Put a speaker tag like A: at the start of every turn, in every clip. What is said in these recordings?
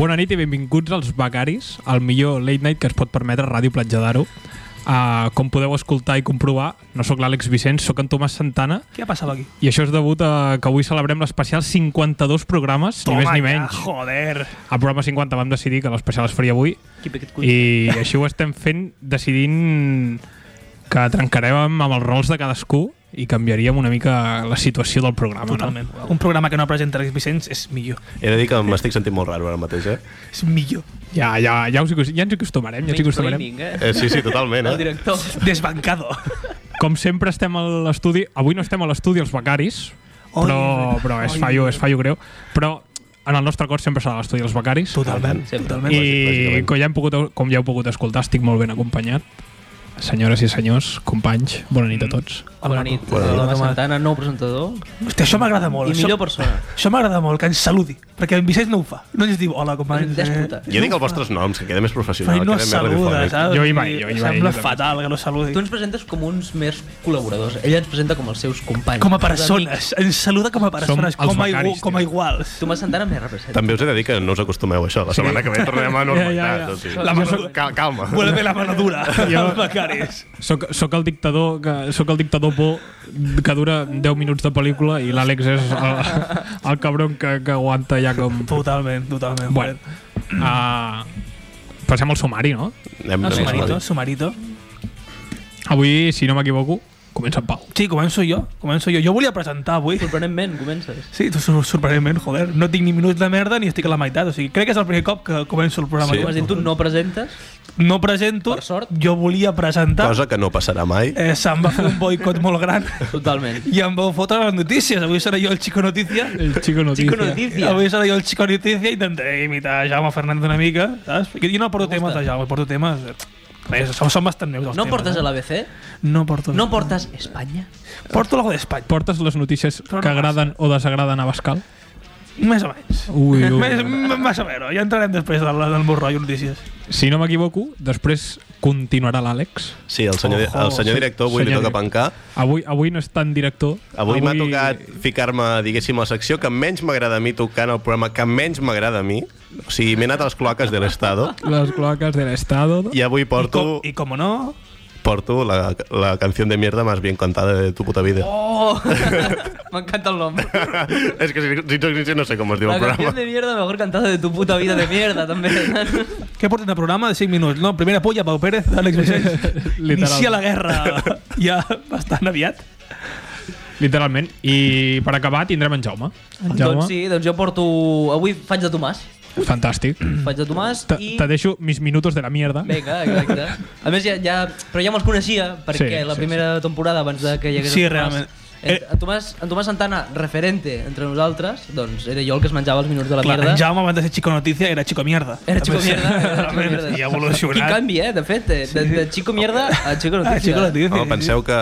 A: Bona nit i benvinguts als Becaris, el millor late night que es pot permetre a Ràdio Platja d'Aro. Uh, com podeu escoltar i comprovar, no sóc l'Àlex Vicenç, sóc en Tomàs Santana
B: Què ha passat aquí?
A: i això és degut a que avui celebrem l'especial 52 programes, ni més ni menys.
B: Ja, joder.
A: Al programa 50 vam decidir que l'especial es faria avui
B: Qui aquest cul.
A: i així ho estem fent decidint que trencarem amb els rols de cadascú i canviaríem una mica la situació del programa.
B: Totalment. Un programa que no presenta Alex Vicenç és millor.
C: He de dir que m'estic sentint molt raro ara mateix, eh?
B: És millor.
A: No? Ja, ja, ja, us, hi acost- ja ens hi acostumarem, ja ens hi acostumarem.
D: Mainstreaming, eh?
C: eh sí, sí, totalment,
D: El
C: eh?
D: director.
B: Desbancado.
A: Com sempre estem a l'estudi, avui no estem a l'estudi els becaris,
B: Oi,
A: però, però és,
B: oi.
A: fallo, és fallo greu, però en el nostre cor sempre serà l'estudi els becaris.
B: Totalment.
D: Sempre.
B: Totalment.
A: I
C: lògicament.
A: com ja, hem pogut, com ja heu pogut escoltar, estic molt ben acompanyat. Senyores i senyors, companys, bona nit a tots.
D: Bona nit.
C: Bona nit.
D: Hola, Santana, nou presentador
B: Hòstia, això m'agrada molt.
D: i millor
B: Això,
D: persona.
B: això m'agrada molt, que ens saludi. Perquè en Vicenç no ho fa. No ens diu hola,
D: És
B: companys.
D: un dèspota.
C: Jo dic els vostres noms, que queda més
B: Però
C: professional,
B: ell no ah.
C: queda
B: es
C: més
B: saluda,
C: radiofònic.
B: saps?
A: Jo hi vaig, jo hi vaig,
B: Sembla
A: jo també.
B: fatal que no saludi.
D: Tu ens presentes com uns més col·laboradors. Ell ens presenta com els seus companys.
B: Com a
D: els
B: persones. Ens saluda com a persones,
A: els
B: com a,
A: becaris,
B: igu, com a
A: tio.
B: iguals.
D: amics. Tomàs Santana me representa.
C: També us he de dir que no us acostumeu a això. La setmana que ve tornem a
A: Ja, ja,
C: normalitat.
A: ja.
C: O sigui,
A: La mano-
C: Cal, calma.
B: Vuelve la mano dura,
A: Jo-
B: els becaris.
A: Soc, soc el dictador que, soc el dictador por que dura 10 minuts de pel·lícula i l'Àlex és el, el cabron que, que aguanta ja com...
B: Totalment, totalment.
A: Bueno, uh, passem al sumari, no?
C: Anem,
B: No,
C: anem
B: sumarito,
C: ràpid.
B: sumarito.
A: Avui, si no m'equivoco, comença en Pau.
B: Sí, començo jo, començo jo. Jo volia presentar avui.
D: Sorprenentment, comences.
B: Sí, tu sor- sorprenentment, joder. No tinc ni minuts de merda ni estic a la meitat. O sigui, crec que és el primer cop que començo el programa.
C: Sí.
D: Com has dit, tu no presentes.
B: No presento,
D: Per sort.
B: jo volia presentar.
C: Cosa que no passarà mai.
B: Eh, se'm va fer un boicot molt gran
D: Totalment.
B: i em vau fotre les notícies. Avui seré jo el Chico Notícia.
A: El Chico Noticia.
D: Chico Noticia.
B: Avui seré jo el Chico Notícia i intentaré imitar Jaume Fernández una mica, saps? Perquè Jo no porto
D: M'agrada.
B: temes de Jaume, porto temes... eh, Res, són, són bastant meus els
D: No
B: temes.
D: portes a l'ABC?
B: Eh? No porto...
D: No portes Espanya?
B: Porto algo d'Espanya,
A: Portes les notícies
B: Però no
A: que agraden o desagraden a Bascal?
B: més o menys.
A: Ui,
B: Més, més a veure, ja entrarem després del, del meu rotllo notícies.
A: Si no m'equivoco, després continuarà l'Àlex.
C: Sí, el senyor,
B: Ojo.
C: el senyor director avui li
A: Senyor
C: toca
A: director.
C: pencar.
A: Avui, avui no és tan director.
C: Avui, m'ha tocat ficar-me, diguéssim, a la secció que menys m'agrada a mi tocant el programa que menys m'agrada a mi. O sigui, m'he anat a les cloaques de l'Estado
A: Les cloaques de l'Estado.
C: i avui porto,
B: I com no...
C: porto la, la canció de mierda más bien contada de tu puta vida.
D: Oh! M'encanta el nom.
C: és que si, si, si, no sé com es diu
D: La
C: el
D: canción
C: programa.
D: de mierda mejor cantada de tu puta vida de mierda, també.
B: Què portem de programa? De 5 minuts, no? Primera polla, Pau Pérez, Àlex Vicenç.
A: Literalment.
B: Inicia la guerra ja bastant aviat.
A: Literalment. I per acabar tindrem en Jaume. En Jaume,
D: doncs sí, doncs jo porto... Avui faig de Tomàs.
A: fantàstic.
D: Faig de Tomàs
A: Te
D: i...
A: te deixo mis minutos de la mierda.
D: Vinga, exacte. A més, ja, ja, però ja me'ls coneixia, perquè
A: Sí,
D: la
A: sí,
D: primera temporada abans de que hi hagués
B: Sí,
D: en Tomàs-
B: realment.
D: En,
B: Eh.
D: en, Tomàs, en Tomàs Santana, referente entre nosaltres, doncs era jo el que es menjava els minuts de la
B: Clar,
D: mierda.
B: en Jaume abans de ser Chico Notícia era Chico Mierda.
D: Era Chico
B: També sí.
D: Mierda. era Chico
B: Realment,
D: Mierda.
B: I ha evolucionat.
D: Quin canvi, eh? De fet, eh, de, de Chico Mierda a Chico
B: Ah,
D: Notícia.
B: Chico Notícia.
C: No, penseu que,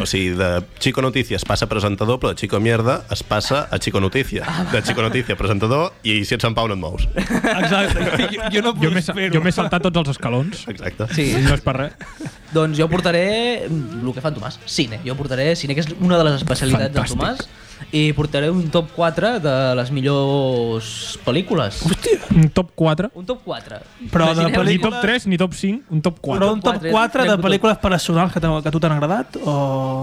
C: o sigui, de Chico Notícia es passa a presentador, però de Chico Mierda es passa a Chico Notícia. De Chico Notícia, presentador, i si ets en Pau no et mous.
B: Exacte. Jo, jo no
A: Jo m'he
B: prospero.
A: jo m'he saltat tots els escalons.
C: Exacte.
D: Sí,
A: No és per res.
D: Doncs jo portaré mm, el que fa en Tomàs, cine. Jo portaré cine, que és una de les especialitats del Tomàs.
A: Fantàstic.
D: I portaré un top 4 de les millors pel·lícules.
B: Hòstia.
A: Un top 4.
D: Un top 4.
B: Però de
D: Imagineu-vos-
A: Ni
B: pel·lícula-
A: top 3 ni top 5, un top 4.
B: Però un top
D: quatre,
B: 4 de
D: anem
B: pel·lícules personals que, t'ha- que a tu t'han agradat o...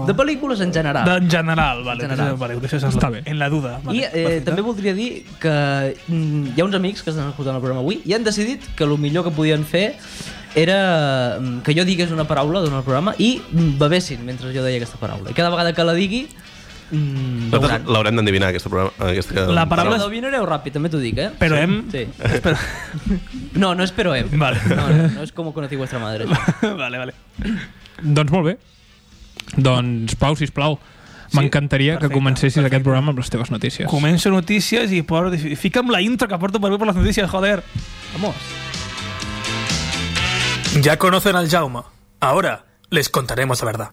D: De pel·lícules en general.
B: De- en general, vale.
D: En general.
B: Vale, deixes en la-
A: Està bé.
B: En la duda. Vale.
D: I eh,
B: Perfecte.
D: també voldria dir que mm, hi ha uns amics que estan escoltant el programa avui i han decidit que el millor que podien fer era mm, que jo digués una paraula durant el programa i mm, bevessin mentre jo deia aquesta paraula. I cada vegada que la digui, mm,
C: Nosaltres
D: beuran.
C: l'haurem d'endevinar, aquesta, programa, aquesta
B: La paraula-
D: Però l'endevinareu ràpid, també t'ho dic, eh?
B: Però
D: Sí.
B: hem-
D: Sí.
B: em, Espera.
D: No, no es pero em.
B: Vale.
D: No, no, no es como conocí vuestra madre.
B: vale, vale.
A: Doncs molt bé. Doncs, Pau, sisplau, m'encantaria que
B: perfecte,
A: comencessis aquest programa amb les teves notícies.
B: Començo notícies i por... i fica'm la intro que porto per avui per les notícies, joder.
D: Vamos.
E: Ya conocen al Jaume. Ahora les contaremos la verdad.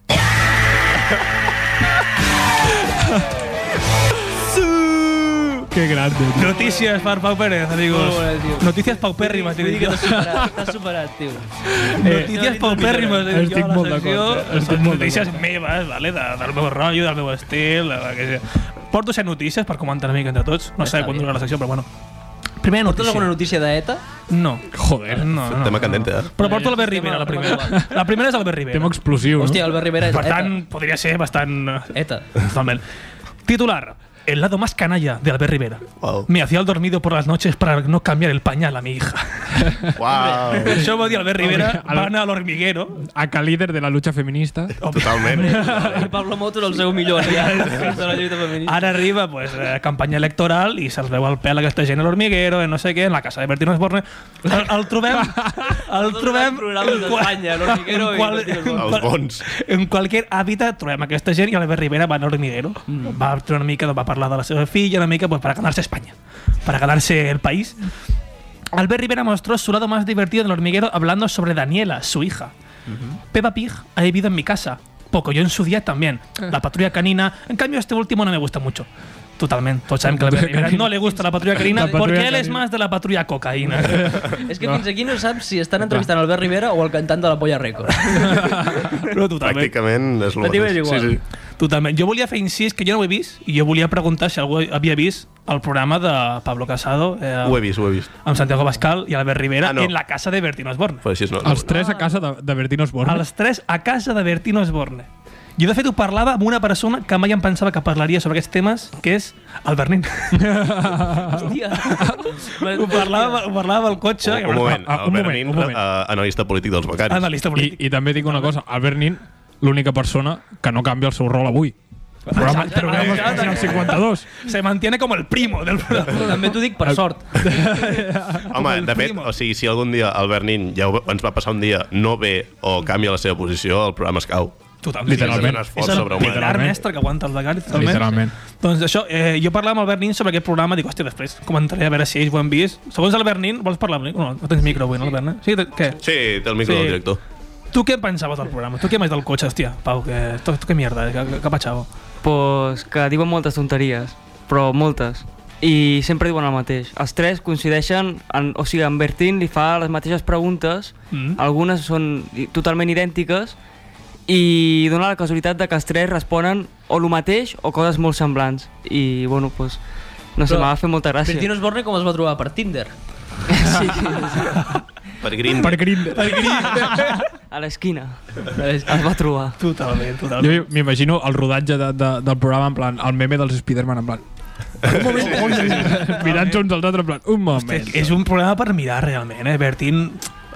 A: Que gran, tio.
B: Notícies per Pau Pérez, amigos.
D: Molt bona, tio.
B: notícies paupèrrimes,
D: Vull
B: diria
D: dir
B: jo.
D: que t'has superat, t'has superat, tio.
A: Eh,
B: Notícies paupèrrimes, diria
A: Estic
B: jo, a
A: molt
B: la secció.
A: d'acord, eh? Estic
B: Són
A: molt
B: notícies meves, vale? De, del meu rotllo, del meu estil, de, que sé. Porto set notícies per comentar una mica entre tots. No
D: Està
B: sé quan
D: bé.
B: durarà la secció, però bueno. Primera
D: Portes alguna
B: notícia.
D: notícia d'ETA?
B: No.
A: Joder.
B: No, no.
C: Tema candente, eh?
B: Però porto l'Albert Rivera, la primera. La primera és Albert
A: Tema
B: Rivera.
A: explosiu,
D: Hòstia,
A: no?
D: Albert Rivera és
B: Per
D: ETA.
B: tant, podria ser bastant... eh,
D: ETA.
B: Totalment. Titular. El lado más canalla de Albert Rivera.
C: Wow.
B: Me hacía el dormido por las noches para no cambiar el pañal a mi hija.
C: Uau!
B: Això va dir Albert Rivera,
A: Hombre, Albert-
B: va anar a l'hormiguero,
A: A que líder de la lucha feminista.
C: Totalment.
D: I Pablo Motos el seu millor aliat de la lluita feminista.
B: Ara arriba pues, eh, campanya electoral i se'ls veu el pèl a aquesta gent a l'hormiguero, en no sé què, en la casa de Bertino Osborne. El, el trobem... El
D: Tots els
B: trobem...
D: programes
B: en qual-
D: d'Espanya, l'hormiguero
B: en
D: i
B: qual- en
D: Bertino Osborne.
C: Els
B: qual-
C: bons.
B: En qualsevol hàbitat trobem aquesta gent i Albert Rivera va anar a l'hormiguero. Mm. Va fer una mica, doncs, va parlar de la seva filla, una mica, pues, para ganarse España, para ganarse el país. Albert Rivera mostró su lado más divertido en el hormiguero hablando sobre Daniela, su hija. Peppa Pig ha vivido en mi casa. Poco, yo en su día también. La patrulla canina. En cambio, este último no me gusta mucho. Totalmente. Todos saben que a Albert Rivera no le gusta la patrulla canina
A: La patrulla
B: porque él es
A: canina.
B: más de la patrulla cocaína.
D: És que fins aquí no saps si estan entrevistant Albert Rivera o el cantant de la Polla Record.
B: Però totalment.
C: Pràcticament és el
D: La teva és
C: mateix.
D: igual.
C: Sí, sí.
B: Totalment. Jo volia fer incís que jo no ho he vist i jo volia preguntar si algú havia vist el programa de Pablo Casado eh,
C: Ho he vist, ho he vist.
B: amb Santiago Bascal i Albert Rivera
C: Ah, no.
B: en la casa de Bertino Osborne.
C: Però així no. no.
A: Els tres a casa de, de Bertino Osborne.
B: Els tres a casa de Bertino Osborne. Jo, de fet, ho parlava amb una persona que mai em pensava que parlaria sobre aquests temes, que és Albert Nin.
D: Hòstia.
B: ho, parlava, ho parlava al cotxe.
C: Un, un moment,
A: Ah, un
C: Albert
A: moment,
C: Nin,
A: un moment.
C: eh, analista polític dels becaris.
B: Analista
A: I,
B: polític.
A: I també dic una cosa, Albert Nin, l'única persona que no canvia el seu rol avui. Programa,
B: Exacte,
A: programa
B: exacte.
A: 52.
B: Se mantiene com el primo del programa.
D: També t'ho dic per sort.
C: Home,
B: el
C: de fet,
B: primo.
C: o sigui, si algun dia Albert Nin ja ho, ens va passar un dia no ve o canvia la seva posició, el programa es cau.
B: Totalment.
A: Literalment.
C: És un esforç
B: És el
C: sobrehumà.
B: pilar mestre que aguanta el Dakar. Totalment.
A: Literalment.
B: Doncs això, eh, jo parlava amb el Bernin sobre aquest programa, dic, hòstia, després comentaré a veure si ells ho han vist. Segons el Bernin, vols parlar amb mi? No, no tens micro avui, no, Albert? eh? Sí, te- què?
C: Sí, té el micro
B: Sí.
C: sí. del director.
B: Tu què en pensaves del programa? Tu què més del cotxe, hòstia, Pau, que, tu, tu que mierda, eh, que, que patxavo.
F: Pues que diuen moltes tonteries, però moltes. I sempre diuen el mateix. Els tres coincideixen, en, o sigui, en Bertín li fa les mateixes preguntes,
B: Mhm.
F: mm. algunes són i- totalment idèntiques, i dona la casualitat de que els tres responen o el mateix o coses molt semblants. I, bueno, pues, no sé,
D: Però
F: m'ha fet molta gràcia.
D: Bertino Osborne com es va trobar per Tinder?
C: Per Green.
A: Per Grindr.
F: A l'esquina es va trobar.
B: Totalment, totalment.
A: Jo m'imagino el rodatge de, de, del programa en plan, el meme dels Spider-Man en plan. Un moment, un moment. Mirant-se uns als altres en plan, un moment.
B: Hòstia, és un programa per mirar, realment, eh? Bertin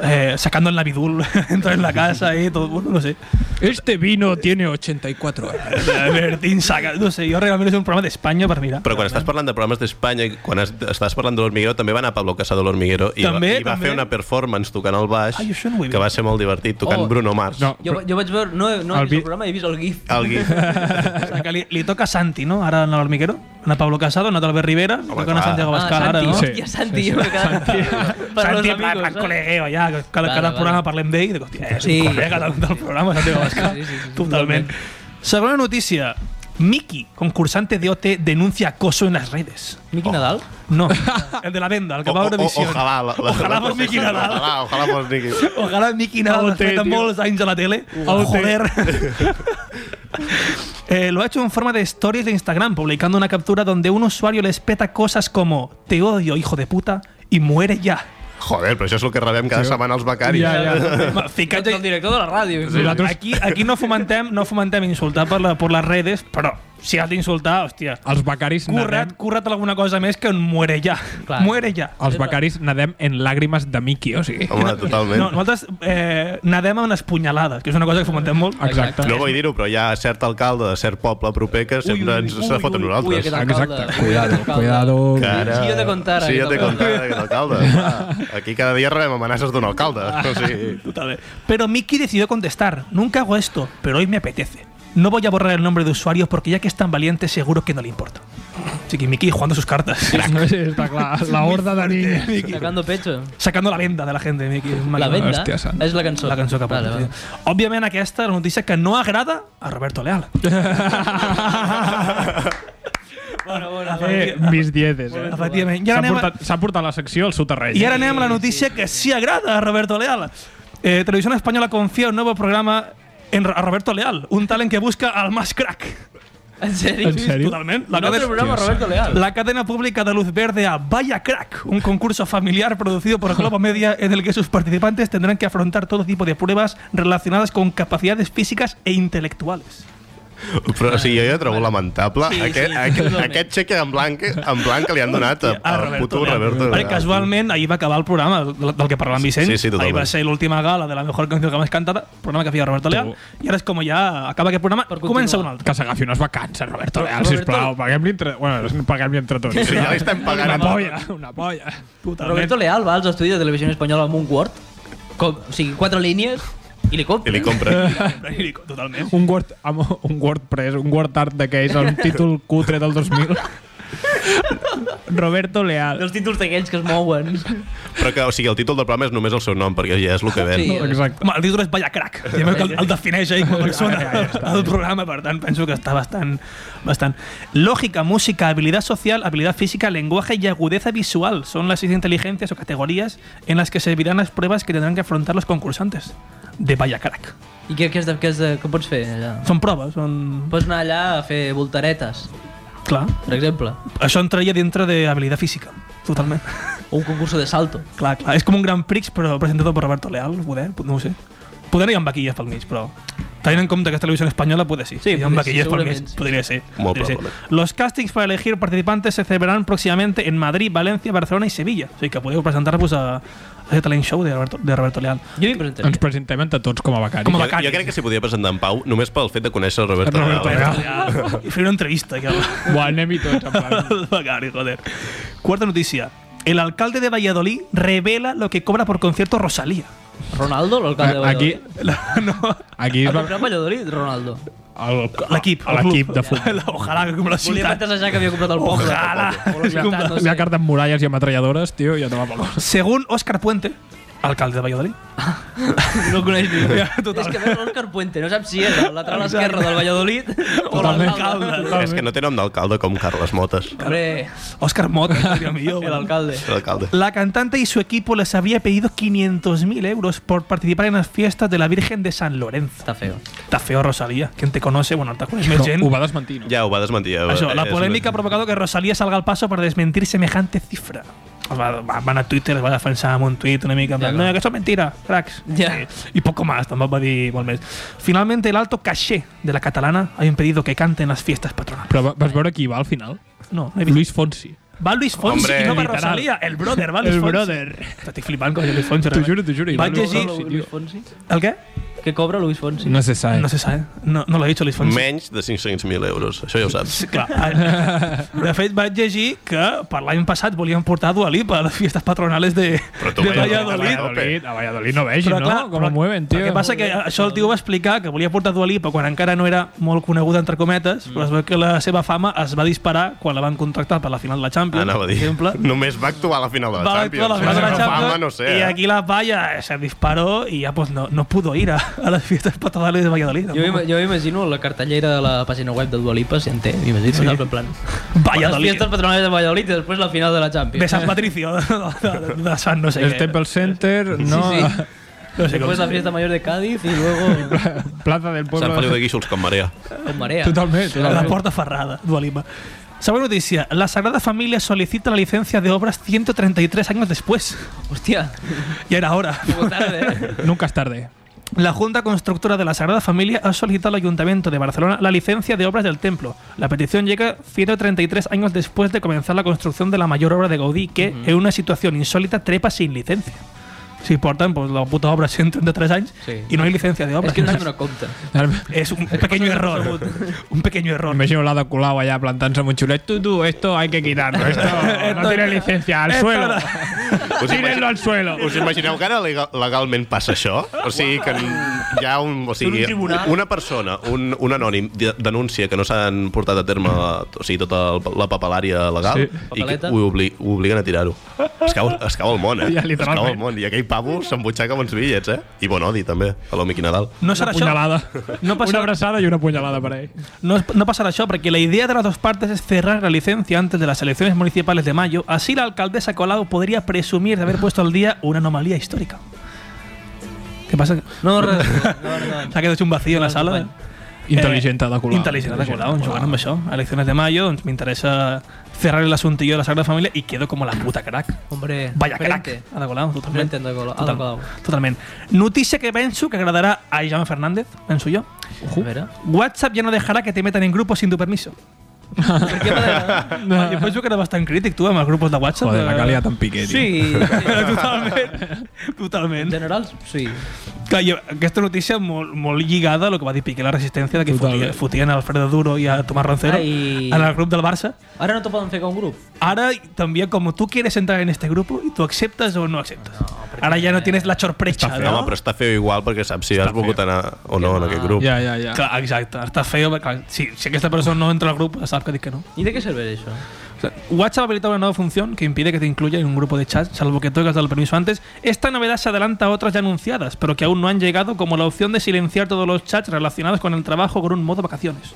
B: eh, sacando el navidul entra en la casa i tot, bueno, no sé.
A: Este vino tiene 84 horas.
B: Bertin saca... No sé, jo realment és un programa d'Espanya per mirar.
C: Però quan estàs parlant de programes d'Espanya, i quan es, estàs parlant de l'Hormiguero, també va anar Pablo Casado a l'Hormiguero i,
B: També,
C: va, i va
B: també.
C: fer una performance tocant el baix
B: Ai, això no ho he
C: que va
B: vist.
C: ser molt divertit, tocant
D: Oh.
C: oh. Bruno Mars.
A: No,
D: Jo,
A: però,
D: jo vaig veure... No, he- no
A: El
D: he vist
A: vi- Ah,
D: el programa, he vist el GIF.
C: El Gui.
B: O sigui, que li, li toca a Santi, no? Ara en l'Hormiguero. En a Pablo Casado, en a Albert Rivera, li toca a
C: clar.
B: Santiago Bascal
D: ah,
B: ara,
D: Santi,
B: no?
A: Sí.
D: hòstia, Santi, jo m'he quedat... Per
B: Santi, en
D: los
B: plan,
D: amigos,
B: en
D: saps?
B: col·legueo, ja. que Cada,
D: Vale,
B: cada
D: vale.
B: programa parlem d'ell, dic, hòstia, és
D: Sí.
B: un col·lega del, del programa, Santiago Bascal.
D: Sí, sí, sí, sí,
B: totalment. Segona notícia. Miki, concursante de OT, denuncia acoso en las redes.
D: Miqui Nadal?
B: No, el de la venda, el que
C: O-
B: va a
C: o- o-
B: Eurovisió.
C: Ojalà. la- la-
B: Ojalà fos Miqui Nadal.
C: Ojalà, ojalà fos Miqui.
B: Ojalà Miki Nadal
A: OT,
B: fet
A: tio.
B: molts anys a la tele. Oh, joder. Eh, lo ha hecho en forma de stories de Instagram, publicando una captura donde un usuario les peta cosas como te odio, hijo de puta, y muere ya.
C: Joder, però això és el que rebem cada setmana els becaris.
B: Ah,
A: Ja, ja.
B: Ma,
D: Tot el
B: Ficat,
D: director de la ràdio.
A: Sí. Nosaltres-
B: aquí, aquí no fomentem, no fomentem insultar per, la, per les redes, però si has d'insultar, hòstia,
A: els becaris
B: curra't,
A: nadem,
B: curra't alguna cosa més que un muere ya.
D: Clar.
B: Muere ya.
A: els becaris nadem en làgrimes de Mickey, oh, o sigui.
C: Home, totalment.
B: No, nosaltres eh, nadem amb les punyalades, que és una cosa que fomentem molt.
A: Exacte.
C: No vull dir-ho, però hi ha cert alcalde de cert poble proper que sempre ens se foten
D: Ui,
C: nosaltres.
D: aquest alcalde.
A: Exacte.
D: Ui, aquest alcalde.
A: Cuidado.
C: Cara.
D: Sí, jo te contara,
C: Sí, jo
D: aquest
C: te
D: alcalde.
C: contara, aquest alcalde. Va, Aquí cada dia rebem amenaces d'un alcalde.
D: Ah.
C: O sigui,
B: Total. Pero Mickey decidió contestar, nunca hago esto, pero hoy me apetece. No voy a borrar el nombre de usuarios porque ya que es tan valiente seguro que no le importa. Así que Mickey jugando sus cartas.
A: No sé, està clar. La horda de niños.
D: Sacando pecho.
B: Sacando la venda de la gente, Mickey.
D: La
B: Maravilloso.
D: venda
A: Hòstia santa.
D: és la cançó.
B: La cançó que porta.
D: Vale,
B: Vale,
D: vale.
B: Òbviament aquesta és la notícia que no agrada a Roberto Leal.
D: Bona, bona.
A: Eh, mis dieces. Eh?
B: Efectivament. I
A: S'ha
B: ara, anem a,
A: portat, s'ha portat la secció al seu terreny.
B: I ara anem a la notícia que sí agrada a Roberto Leal. Eh, Televisión Española confía un nuevo programa en, a Roberto Leal, un talent que busca al más crack.
D: En sèrio?
A: En sèrio?
B: Totalment. La
D: La no
B: cadena,
D: otro programa, Roberto Leal.
B: la cadena pública da luz verde a Vaya Crack, un concurso familiar producido por Globo Media en el que sus participantes tendrán que afrontar todo tipo de pruebas relacionadas con capacidades físicas e intelectuales.
C: Però o sigui, jo ja trobo lamentable
D: Sí,
C: sí,
D: sí, sí,
C: aquest, sí, aquest,
D: totalment.
C: aquest xeque en blanc, en blanc que li han donat a,
B: Ah,
C: a puto Roberto.
B: Perquè casualment ahir va acabar el programa del, del que parlava en Vicent.
C: Sí, sí,
B: ahir
C: totalment.
B: va ser l'última gala de la mejor canción que más cantada, programa que feia Roberto Leal. I ara és com ja acaba aquest programa,
D: Per
B: comença un
D: continuar.
B: altre.
A: Que s'agafi unes vacances, Roberto Leal,
D: Roberto-
A: sisplau. Paguem-li entre, bueno, paguem entre tots.
C: Sí, ja li estem pagant
A: una
C: a tots.
A: polla, una polla.
D: Roberto Leal va als estudis de Televisió Espanyola amb un Word, com, o sigui, quatre línies, i li compra.
C: I li compra.
B: Totalment.
A: Un Word, amb un WordPress, un Word Art d'aquells, un títol cutre del 2000. Roberto Leal.
D: Dels títols d'aquells que es mouen.
C: Però que, o sigui, el títol del programa és només el seu nom, perquè ja és el que ven.
D: Sí.
C: Sí.
A: Exacte.
B: Home, el títol és Vaya Crack. Ja veu que el, el defineix ell com a persona el programa, per tant, penso que està bastant... bastant. Lógica, música, habilidad social, habilidad física, lenguaje y agudeza visual son las seis inteligencias o categorías en las que servirán las pruebas que tendrán que afrontar los concursantes de Vaya Crack.
D: I què, què, és de, què, és de, què pots fer allà?
B: Són proves, són...
D: Pots anar allà a fer voltaretes,
B: Clar.
D: per exemple.
B: Això entraria dintre de habilidad física, totalment.
D: O un concurs de salto.
B: Clar, clar. És com un Gran Prix, però presentat per Roberto Leal, poder, no ho sé. Poder hi ha vaquilles pel mig, però... Tenint en compte que és televisió espanyola, puede sí.
D: Sí,
B: hi ha
D: potser sí,
B: vaquilles pel mig,
D: segurament, sí.
B: podria ser.
C: Molt
B: podria ser.
C: probablement.
B: Los castings para elegir participantes se celebrarán próximamente en Madrid, Valencia, Barcelona y Sevilla. O sigui que podeu presentar-vos a, a aquest talent show de Roberto, de Roberto Leal.
D: Jo m'hi
A: Ens
D: presentaria.
A: presentem entre tots com a becaris.
B: Com
C: Jo,
B: a
C: jo crec que s'hi podia presentar en Pau només pel fet de conèixer el Roberto.
A: Roberto
C: Leal. eh?
A: Leal.
B: I fer una entrevista. Que...
A: Ho anem-hi tots, en plan.
B: El Becari, joder. Cuarta noticia. El alcalde de Valladolid revela lo que cobra por concierto Rosalía.
D: Ronaldo, l'alcalde de
A: Aquí,
D: Valladolid.
B: no,
A: aquí es
D: El
A: va...
D: comprat Valladolid, Ronaldo.
A: el-
B: L'equip, el
A: L'equip
B: club.
A: de futbol.
B: Ojalá que com la
D: Volia
B: ciutat.
D: plantejar que havia comprat el poble.
B: Ojalá.
D: O la ciutat, no
A: Hi ha
D: sé.
A: cartes amb muralles i ametralladores, tio, i ja te va valor.
B: Según Óscar Puente, alcalde de Valladolid,
D: No coneix ningú.
B: Ja,
D: És
B: totalment.
D: que veus l'Òscar Puente, no saps si és el lateral esquerre del Valladolid o
A: Totalment.
D: l'alcalde.
C: És que no té nom d'alcalde com Carles Motes,
D: Hombre,
B: Óscar Mota, sería mío,
D: el alcalde.
C: l'alcalde.
B: La cantante y su equipo les había pedido 500.000 euros por participar en las fiestas de la Virgen de San Lorenzo.
D: Està feo.
B: Está feo Rosalía, quien te conoce, bueno, ahorita con el
A: Però ho va desmentir, no?
C: Ja ho va desmentir. ja.
B: Això, la
C: És-
B: polémica ha provocado que Rosalía salga al paso para desmentir semejante cifra. Va- va- Van a Twitter, les va defensar amb un tuit una mica, en plan,
D: Ja, clar.
B: no, que això és mentira, cracs.
D: Ja.
B: Eh, Y poco más, tampoc va dir molt més. Finalmente, el alto caché de la catalana ha impedido que cante en las fiestas patronales.
A: Però va- vas veure qui hi va al final?
B: No, no he vist.
A: Luis Fonsi.
B: Va Luis Fonsi
C: Hombre.
B: i no va
A: Literal.
B: Rosalía, el brother, va Luis
A: El
B: Fonsi.
A: brother.
B: Estic flipant com és Luis Fonsi.
A: T'ho
B: realment.
A: juro, t'ho juro. hi va
B: Vaig
A: Luis
B: llegir-
A: Fonsi,
D: Luis
A: tio.
D: Fonsi?
B: El què?
D: Què cobra Luis Fonsi?
A: No se sabe.
B: No se sabe. No, no lo ha dicho Luis Fonsi.
C: Menys de 500.000 euros, això ja ho saps.
B: Sí, clar. De fet, vaig llegir que per l'any passat volien portar Dua Lipa a les fiestes patronales de,
C: Però tu
B: de
C: veus,
B: Valladolid.
C: Valladolid.
A: A Valladolid no vegis,
B: Però,
A: no?
B: clar,
A: Com ho mueven, tio.
B: El que passa que això el tio va explicar que volia portar Dua Lipa quan encara no era molt coneguda, entre cometes,
C: Mm.
B: però es veu que la seva fama es va disparar quan la van contractar per la final de la Champions,
C: Anava a
B: per
C: dir,
B: exemple.
C: només va actuar a la final de la
B: Va actuar
C: Champions.
B: a la final de la
C: Però
B: Champions
C: Fama, no sé,
B: y
C: eh?
B: aquí la valla se disparó y ya pues no, no pudo ir a, a las fiestas patronales de Valladolid.
D: Jo,
B: tampoco.
D: im- jo imagino la cartellera de la pàgina web de Dua Lipa, si en té, m'imagino, sí. en plan... Les
B: Valladolid.
D: fiestes patronales de Valladolid i després la final de la Champions.
B: De San Patricio, de, de- de San no sé
A: El
B: qué.
A: Temple Center, no...
D: Sí, sí.
B: No sé cómo
D: Després
B: se
D: la
B: dice.
D: fiesta mayor de Cádiz i luego
A: Plaza del
C: Sant Feliu
A: Pueblo...
C: de Guíxols com marea.
D: con marea.
A: Totalment,
B: La
A: totalment.
B: puerta ferrada, Dua Lipa. Segunda noticia. La Sagrada Familia solicita la licencia de obras 133 años después.
D: Hòstia,
B: Ya era hora.
D: molt tard, eh?
A: Nunca es tarde.
B: La Junta Constructora de la Sagrada Familia ha solicitado al Ayuntamiento de Barcelona la licencia de obras del templo. La petición llega 133 años después de comenzar la construcción de la mayor obra de Gaudí, que en una situación insólita trepa sin licencia. Si portan, pues la puta obra 133 años
D: Sí.
B: y no hay licencia de obra.
D: És que no se'n dona compte.
B: Es un pequeño error. un pequeño error.
A: Imagino la de Colau allá plantándose un chulet. Tú, tú, esto hay que quitarlo. Esto no tiene licencia. Al suelo.
C: Us,
A: Tírenlo al suelo.
C: us imagineu que ara legal- legalment passa això? O sigui, que n- hi ha un... O sigui, una persona, un, un anònim, de- denuncia que no s'han portat a terme o sigui, tota el- la papelària legal
A: Sí.
C: i que
D: Papeleta.
C: ho, obli, ho obliguen a tirar-ho. Es, cau, es cau el món, eh?
A: Ja,
C: es
A: literalment.
C: cau el món. I aquell pavo s'embutxaca bons bitllets, eh? I bon odi, també, a l'Homiqui Nadal.
B: No será
A: Una
B: eso.
A: puñalada.
B: No
A: Una
B: pasará-
A: abrazada y una puñalada para ahí.
B: No, no pasará eso, porque la idea de las dos partes es cerrar la licencia antes de las elecciones municipales de mayo. Así la alcaldesa Colau podría presumir de haber puesto al día una anomalía histórica. ¿Qué pasa?
D: No, res, no, no,
B: Se
D: no.
B: ha quedado hecho un vacío en la
D: Gran
B: sala.
D: company.
A: Intel·ligent
B: Eh,
A: ha de colar.
B: Intel·ligent ha de colar, doncs jugant amb això. A Elecciones de mayo, doncs m'interessa cerrar el asuntillo de la Sagrada Família i quedo com la puta crack.
D: Hombre,
B: Vaya crack.
D: diferente.
B: Ada Colau, totalment.
D: Diferente, Ada Colau. Ada Colau.
B: totalment. Notícia que penso que agradarà a Jaume Fernández, penso jo.
D: A ¿eh? veure.
B: WhatsApp ya no dejará que te metan en grupos sin tu permiso.
D: Per què m'agrada?
B: No. Jo penso pues que era bastant crític, tu, amb els grupos de WhatsApp.
A: Joder, la
B: eh,
A: calia tan piqué, tio.
D: Sí,
B: totalment.
D: en
B: totalment.
D: general, sí.
B: Clar, jo, aquesta notícia molt, molt lligada a lo que va dir Piqué, la resistència de que
A: Totalment.
B: fotia, fotien a Alfredo Duro i a Tomás Roncero
D: Ai.
B: en el grup del Barça.
D: Ara no t'ho poden fer com un grup.
B: Ara també com tu quieres entrar en este grupo y tú aceptas o no aceptas. Ara ja no tienes la xorprecha,
C: No,
B: Ah, no?
C: home, però està feo igual perquè saps si has volgut anar o no en aquest grup.
A: Ja, ja, ja.
B: Clar, exacte, està feo. perquè, Clar, si, si aquesta persona no entra al grup, sap que dic que no.
D: I de què serveix això?
B: O sea, WhatsApp habilita una nueva función que impide que te incluya en un grupo de chat, salvo que tú hayas dado el permiso antes. Esta novedad se adelanta a otras ya anunciadas, pero que aún no han llegado, como la opción de silenciar todos los chats relacionados con el trabajo con un modo vacaciones.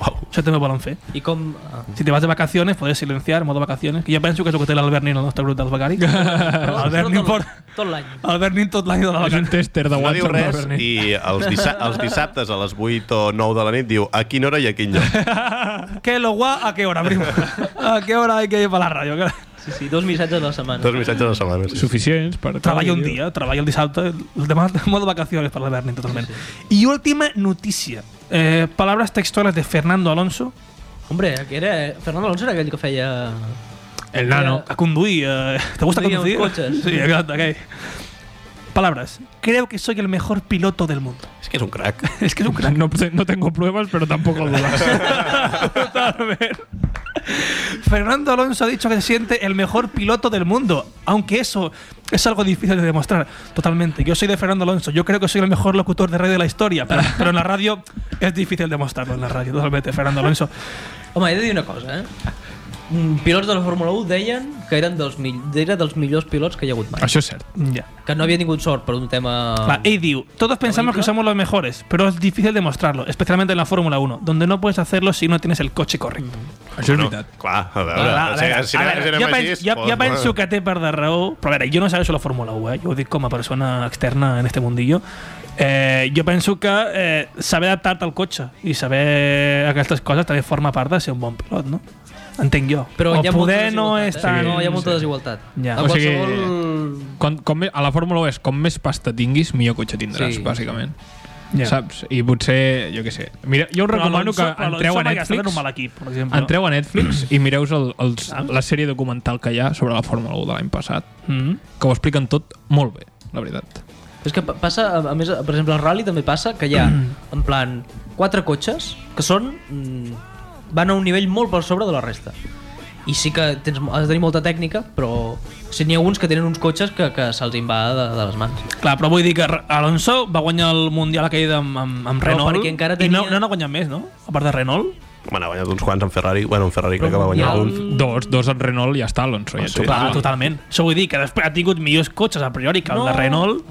C: Uau.
B: Eso te me balance.
D: I com... Ah.
B: Si te vas de vacaciones, puedes silenciar modo vacaciones. Que yo pienso que es lo que te da Albert Nin en nuestro grupo de Albacari. Albert Nin por...
D: Tot l'any.
B: Albert Nin tot l'any de
A: És
B: la
A: un
B: vacant.
A: tester de
C: No diu
A: WhatsApp.
C: res
A: Berni.
C: i els, dissa els dissabtes a les 8 o 9 de la nit diu a quina hora i a quin lloc.
B: ¿Qué lo guá? ¿A qué hora, primo? ¿A qué hora hay que ir para la radio?
D: Sí, sí, dos missatges a la setmana.
C: Dos missatges a la setmana. Sí.
A: Suficients per...
B: Treballa un dia, treballa el dissabte, el demà modo vacaciones para el Berni totalment. I última notícia. Eh, palabras textuales de Fernando Alonso
D: Hombre, que era... eh, Fernando Alonso era aquell que feia...
A: El nano.
B: a conduir. Eh, ¿Te gusta
D: Conduir
B: conducir?
D: coches.
B: Sí, exacto, ok. Palabras. Creo que soy el mejor piloto del mundo.
C: És que és un crac.
B: es que es un crack.
A: No, te- no tengo pruebas, pero tampoco dudas.
B: Totalmente. Fernando Alonso ha dicho que se siente el mejor piloto del mundo, aunque eso es algo difícil de demostrar. Totalmente. Yo soy de Fernando Alonso. Yo creo que soy el mejor locutor de radio de la historia, pero, pero en la radio es difícil demostrarlo. En la radio, totalmente, Fernando Alonso.
D: Home, he de dir una cosa, eh? Mm, Pilots de la Fórmula 1 deien que eren dels, mill... era dels millors pilots que hi ha hagut mai.
A: Això és cert.
B: Ya.
D: Que no havia tingut sort per un tema...
B: Va, ey, Diu, todos pensamos que somos los mejores, pero es difícil demostrarlo, especialmente en la Fórmula 1, donde no puedes hacerlo si no tienes el coche correcto.
A: Això és veritat.
C: Clar, a veure,
B: Clar,
C: si,
B: a veure,
C: si,
B: a
C: anem-
B: veure,
C: si anem
B: jo,
C: així...
B: penso, jo, jo
C: pot-
B: penso que té per de raó però a veure, jo no segueixo la Fórmula 1 eh? jo ho dic com a persona externa en este mundillo eh, jo penso que eh, saber adaptar-te al cotxe i saber aquestes coses també forma part de ser un bon pilot no? entenc jo
D: Però
B: o
D: hi ha molta
B: poder no
D: desigualtat,
B: és tan
D: Eh? No, hi ha
B: sí.
D: molta desigualtat.
B: Ja.
D: A
A: O sigui-
D: qualsevol...
A: Com, com, me- a la Fórmula 1 és com més pasta tinguis, millor cotxe tindràs,
D: Sí.
A: sí. bàsicament.
B: Ja.
A: Yeah. Saps? I potser, jo què sé. Mira, jo us
B: Però
A: recomano
B: Alonso-
A: que
B: però
A: entreu a
B: Alonso va gastar en
A: Netflix,
B: un mal equip, per exemple.
A: entreu a Netflix i mireu el, els,
B: Ah.
A: la sèrie documental que hi ha sobre la Fórmula 1 de l'any passat,
B: Mhm.
A: que ho expliquen tot molt bé, la veritat.
D: És que pa- passa, a- a més, per exemple, al rally també passa que hi ha, en plan, quatre cotxes que són... mm, van a un nivell molt per sobre de la resta. I sí que tens, mo- has de tenir molta tècnica, però sí n'hi ha uns que tenen uns cotxes que, que se'ls en va de, de les mans.
B: Clar, però vull dir que Alonso va guanyar el Mundial aquell amb, amb, amb
D: Però
B: Renault
D: perquè encara
B: i no,
D: tenia-
B: no n'ha guanyat més, no? A part de Renault
C: Home, n'ha guanyat uns quants en Ferrari. Bueno, en Ferrari crec que va guanyar
D: Mundial-
C: un.
B: Mm.
A: Dos, dos en Renault i ja està, Alonso.
C: Ah,
A: Ja
C: sí?
A: sí.
B: Clar, totalment. Això vull dir que després ha tingut millors cotxes a priori que el de Renault.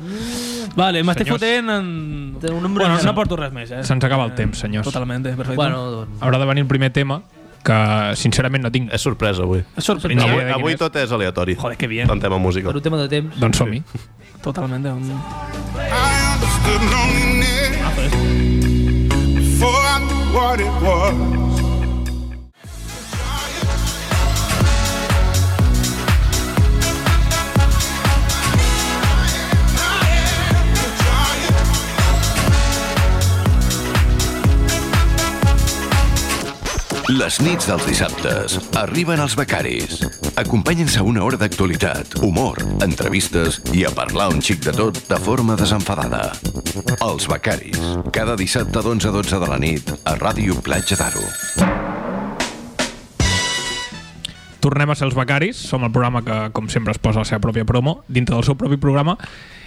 B: Vale, m'estic
A: Senyors.
B: fotent en...
D: Té un número
B: Bueno,
D: de-
B: no porto res més, eh?
A: Se'ns acaba el temps, senyors.
B: Totalment, perfecte.
D: Bueno, doncs...
A: Haurà de venir el primer tema, que sincerament no tinc...
C: És sorpresa, avui.
B: És sorpresa.
A: No,
C: Avui,
A: idea quin
C: avui
A: és.
C: tot és aleatori.
B: Joder, que bien.
C: Tant tema música.
D: Per un tema de temps.
A: Doncs som-hi.
B: Totalment. Un...
G: I understood loneliness before I knew what it was.
H: Les nits dels dissabtes arriben els becaris. Acompanyen-se a una hora d'actualitat, humor, entrevistes i a parlar un xic de tot de forma desenfadada. Els becaris. Cada dissabte d'11 a 12 de la nit a Ràdio Platja d'Aro.
A: Tornem a ser els becaris, som el programa que, com sempre, es posa la seva pròpia promo dintre del seu propi programa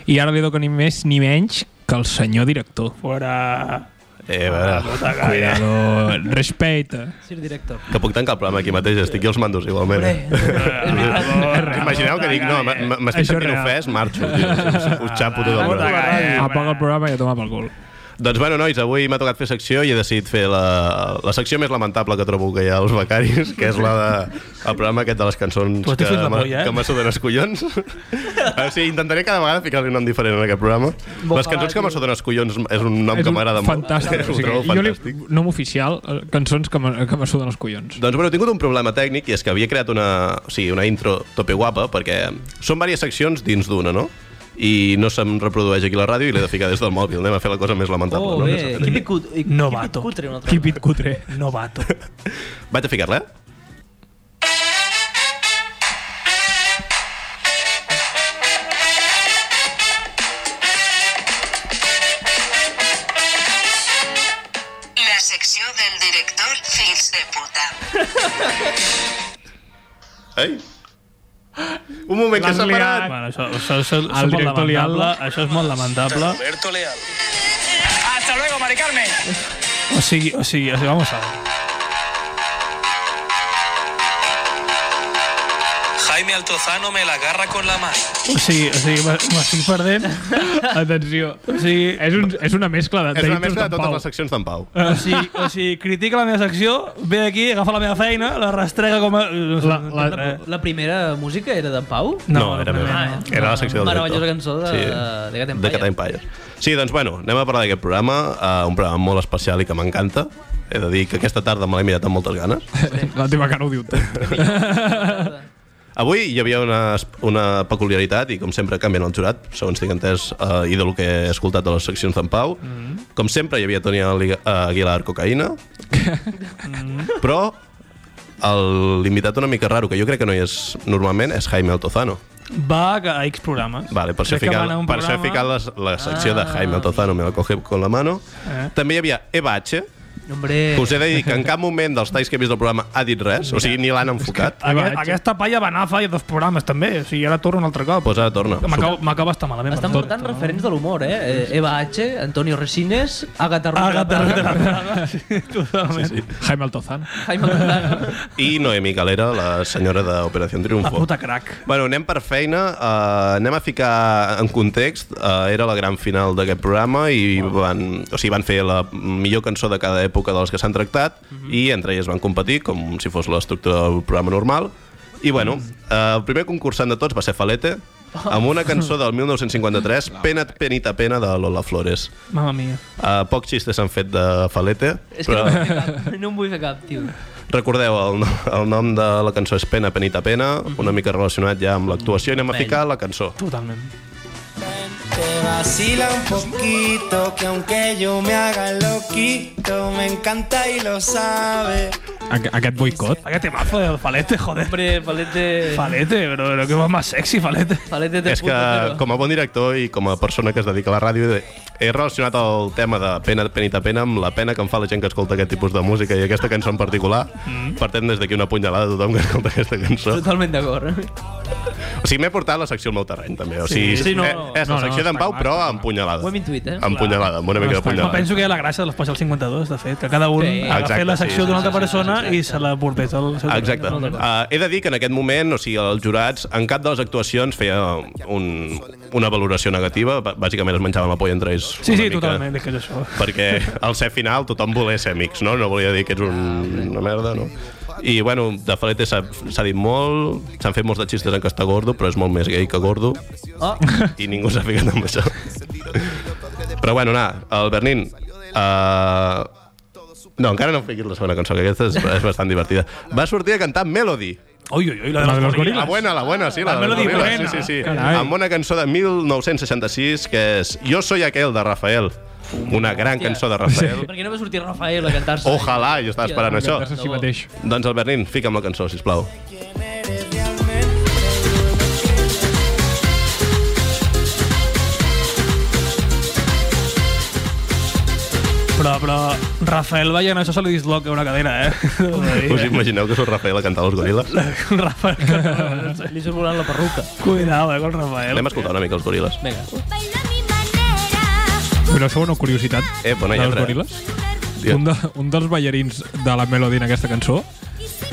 A: i ara li dono ni més ni menys que el senyor director.
B: Fora... Tota
C: Eh, a veure,
A: Cuidado, respecte.
D: Sir director.
C: que puc tancar el programa aquí mateix, estic jo als mandos igualment. eh?
B: tota
C: Imagineu que dic, no, m- m- m'estic
A: Això és
C: sentint
A: real.
C: tota
A: Ah,
C: ofès, marxo. Tio. Us xapo tot el programa.
A: Apaga el programa i a tomar pel cul.
C: Doncs bueno, nois, avui m'ha tocat fer secció i he decidit fer la, la secció més lamentable que trobo que hi ha als becaris, que és la de, el programa aquest de les cançons
B: Però
C: que,
B: t'he fet la
C: m'a-
B: polla, eh?
C: que m'assoden els collons. o sigui, intentaré cada vegada ficar-li un nom diferent en aquest programa. les cançons que m'assoden els collons és un nom
A: És
C: que
A: un
C: m'agrada molt.
A: Fantàstic.
C: Ho trobo
A: jo li,
C: fantàstic.
A: nom oficial, eh, cançons que me, que me suden els collons.
C: Doncs bueno, he tingut un problema tècnic i és que havia creat una, o sigui, una intro tope guapa perquè són diverses seccions dins d'una, no? I no se'm reprodueix aquí la ràdio i l'he de ficar des del mòbil. Anem a fer la cosa més
D: Oh,
C: lamentable. no? Que
D: bé.
C: s'ha fet.
D: Keep it cut- keep
B: Novato.
D: it cutre una altra
A: Keep it cutre.
B: Novato.
C: Vaig a ficar-la, eh?
I: La secció del director Fills de puta.
C: Ei? Un moment, que s'ha parat!
B: bueno, això, això, això, això,
A: El
B: és molt
A: director
B: lamentable.
A: Lial.
B: Això és molt lamentable.
E: Alberto Leal.
F: Hasta luego, Mari Carmen.
B: O sigui, o sigui, o sigui vamos a ver.
E: Jaime Altozano me la agarra con la mano.
B: O sigui, o sigui, m'estic perdent.
A: Atenció.
B: O sigui,
A: És, un, és una mescla de,
C: És una
A: d'Hitler
C: mescla de
A: d'en
C: totes
A: Pau.
C: les seccions d'en Pau. Eh,
B: O sigui, o sigui, critica la meva secció, ve aquí, agafa la meva feina, la rastrega com a... La,
A: la-
D: La primera música era d'en Pau?
C: No, Ah, era
B: primer
C: meva.
B: no.
C: Era la secció del
D: Meravellosa
C: director.
D: cançó de,
C: Sí.
D: de Cat
C: de Cat Empire. Sí, doncs bueno, anem a parlar d'aquest programa, uh, un programa molt especial i que m'encanta. He de dir que aquesta tarda me l'he mirat amb moltes ganes.
A: La teva cara ho diu tot.
C: Avui hi havia una, una peculiaritat i com sempre canvien el jurat, segons tinc entès uh, i del que he escoltat de les seccions d'en Pau. Mm -hmm. Com sempre hi havia Toni Ali- Aguilar cocaïna,
B: Mm.
C: però el- l'invitat una mica raro, que jo crec que no hi és normalment, és Jaime Altozano.
B: Va a X programes.
C: Vale, per això he
B: Crec que
C: ficat,
B: van a un
C: per això he
B: programa.
C: ficat la, la secció ah. de Jaime Altozano, me la coge con la mano. Eh.
B: Eh.
C: També hi havia Eva H,
D: Hombre,
C: que us he de dir que en cap moment dels talls que he vist del programa ha dit res, o sigui, ni l'han enfocat.
B: Aquest, aquesta palla va anar fa dos programes, també. O sigui, ara torno un altre cop.
C: Pues Doncs ara torna.
B: M'acabo m'acaba estar malament.
D: estan portant referents de l'humor, eh? eh? Eva H, Antonio Resines, Agatha Ruiz,
B: Agatha Ruiz de la Praga. Sí, totalment. Sí,
A: Jaime Altozán.
D: Jaime Cantano.
C: I Noemi Galera, la senyora d'Operació
B: La
C: Triunfo.
B: puta crack.
C: Bueno, anem per feina, uh, anem a ficar en context, uh, era la gran final d'aquest programa i van, o sigui, van fer la millor cançó de cada època de les que s'han tractat
D: Mhm.
C: i entre elles van competir com si fos l'estructura del programa normal i bueno, uh, el primer concursant de tots va ser Falete amb una cançó del 1953, Pena, Penita, Pena, de Lola Flores.
B: Mamma mia.
C: Uh, pocs xistes s'han fet de Falete,
D: És que no,
C: però...
D: en vull fer cap, no en vull fer cap, tio.
C: Recordeu, el, no- el nom de la cançó és Pena, Penita, Pena,
D: Mhm.
C: una mica relacionat ja amb l'actuació, i anem a ficar la cançó.
B: Totalment.
J: Te vacila un poquito, que aunque yo me haga loquito, me encanta y lo sabe.
A: Aqu aquest boicot.
B: Aquest Ah, temazo del Falete, joder.
D: Hombre, Palete...
B: Falete, bro, però que va més sexy, Falete.
D: Palete de
C: És que, com a bon director i com a persona que es dedica a la ràdio, he- he relacionat el tema de Pena, Penita, Pena amb la pena que em fa la gent que escolta aquest tipus de música i aquesta cançó en particular.
D: Mhm.
C: Partem des d'aquí una punyalada a tothom que escolta aquesta cançó.
D: Totalment d'acord. eh?
C: O sigui, m'he portat la secció al meu terreny, també. O sigui,
D: Sí, sí, no,
C: eh,
D: no.
C: és la
A: No, no,
C: secció d'en
A: està
C: Pau,
A: clar,
C: però
A: està clar.
C: amb
D: Ho
C: punyalada.
D: hem intuït, eh?
C: Amb punyalada, amb una mica de
B: No,
C: punyalada.
B: penso que la gràcia de l'Especial 52, de fet, que cada un
D: Sí.
B: sí, agafa
C: Exacte,
B: la
C: sí,
B: secció
C: sí,
B: d'una altra
D: sí, sí,
B: persona
D: exacte.
B: i se la portés al seu
C: Exacte.
B: terreny.
C: Uh, he de dir que en aquest moment, o sigui, els jurats, en cap de les actuacions feia un, una valoració negativa. Bà- Bàsicament es menjaven la polla entre ells.
B: Sí,
C: una
B: sí,
C: mica,
B: totalment, és que és això.
C: Perquè al ser final tothom volia ser amics, no? No volia dir que ets un, una merda, no? I, bueno, de Falete s'ha s'ha dit molt, s'han fet molts de xistes en que està gordo, però és molt més gay que gordo,
D: Oh,
C: i ningú s'ha ficat amb això. Però, bueno, anar, el Bernin... Uh, no, encara no em fiquis la segona cançó, que aquesta és, és bastant divertida. Va sortir a cantar Melody.
B: Ui, ui, ui, la de
A: La de los
B: los
A: gorilas.
C: La
B: goril·les.
C: buena, la buena, sí, la,
B: La
C: de los
B: Melody
C: gorilas,
B: Morena.
C: sí, sí, sí.
A: Carai.
C: Amb una cançó de 1966 que és Yo soy aquel, de Rafael. Una gran
D: Hòstia.
C: cançó de Rafael.
D: per què no va sortir Rafael a cantar-se?
C: Ojalà, jo estava esperant això.
A: És així mateix.
C: Doncs el Bernin, fica'm la cançó, sisplau.
J: ¿Quién eres realmente?
B: Però, però, Rafael veient això se li disloca una cadena, eh?
C: Us imagineu que surt Rafael a cantar els goril·les?
B: Rafael, que...
D: Li surt volant la perruca.
B: cuidado, eh, con Rafael.
C: Anem a escoltar una mica els goril·les.
D: Vinga.
A: Però això una curiositat
C: Eh, bona
A: dels
C: lletra.
A: goril·les.
C: Digue'm.
A: Un, de, un dels ballarins de la Melody en aquesta cançó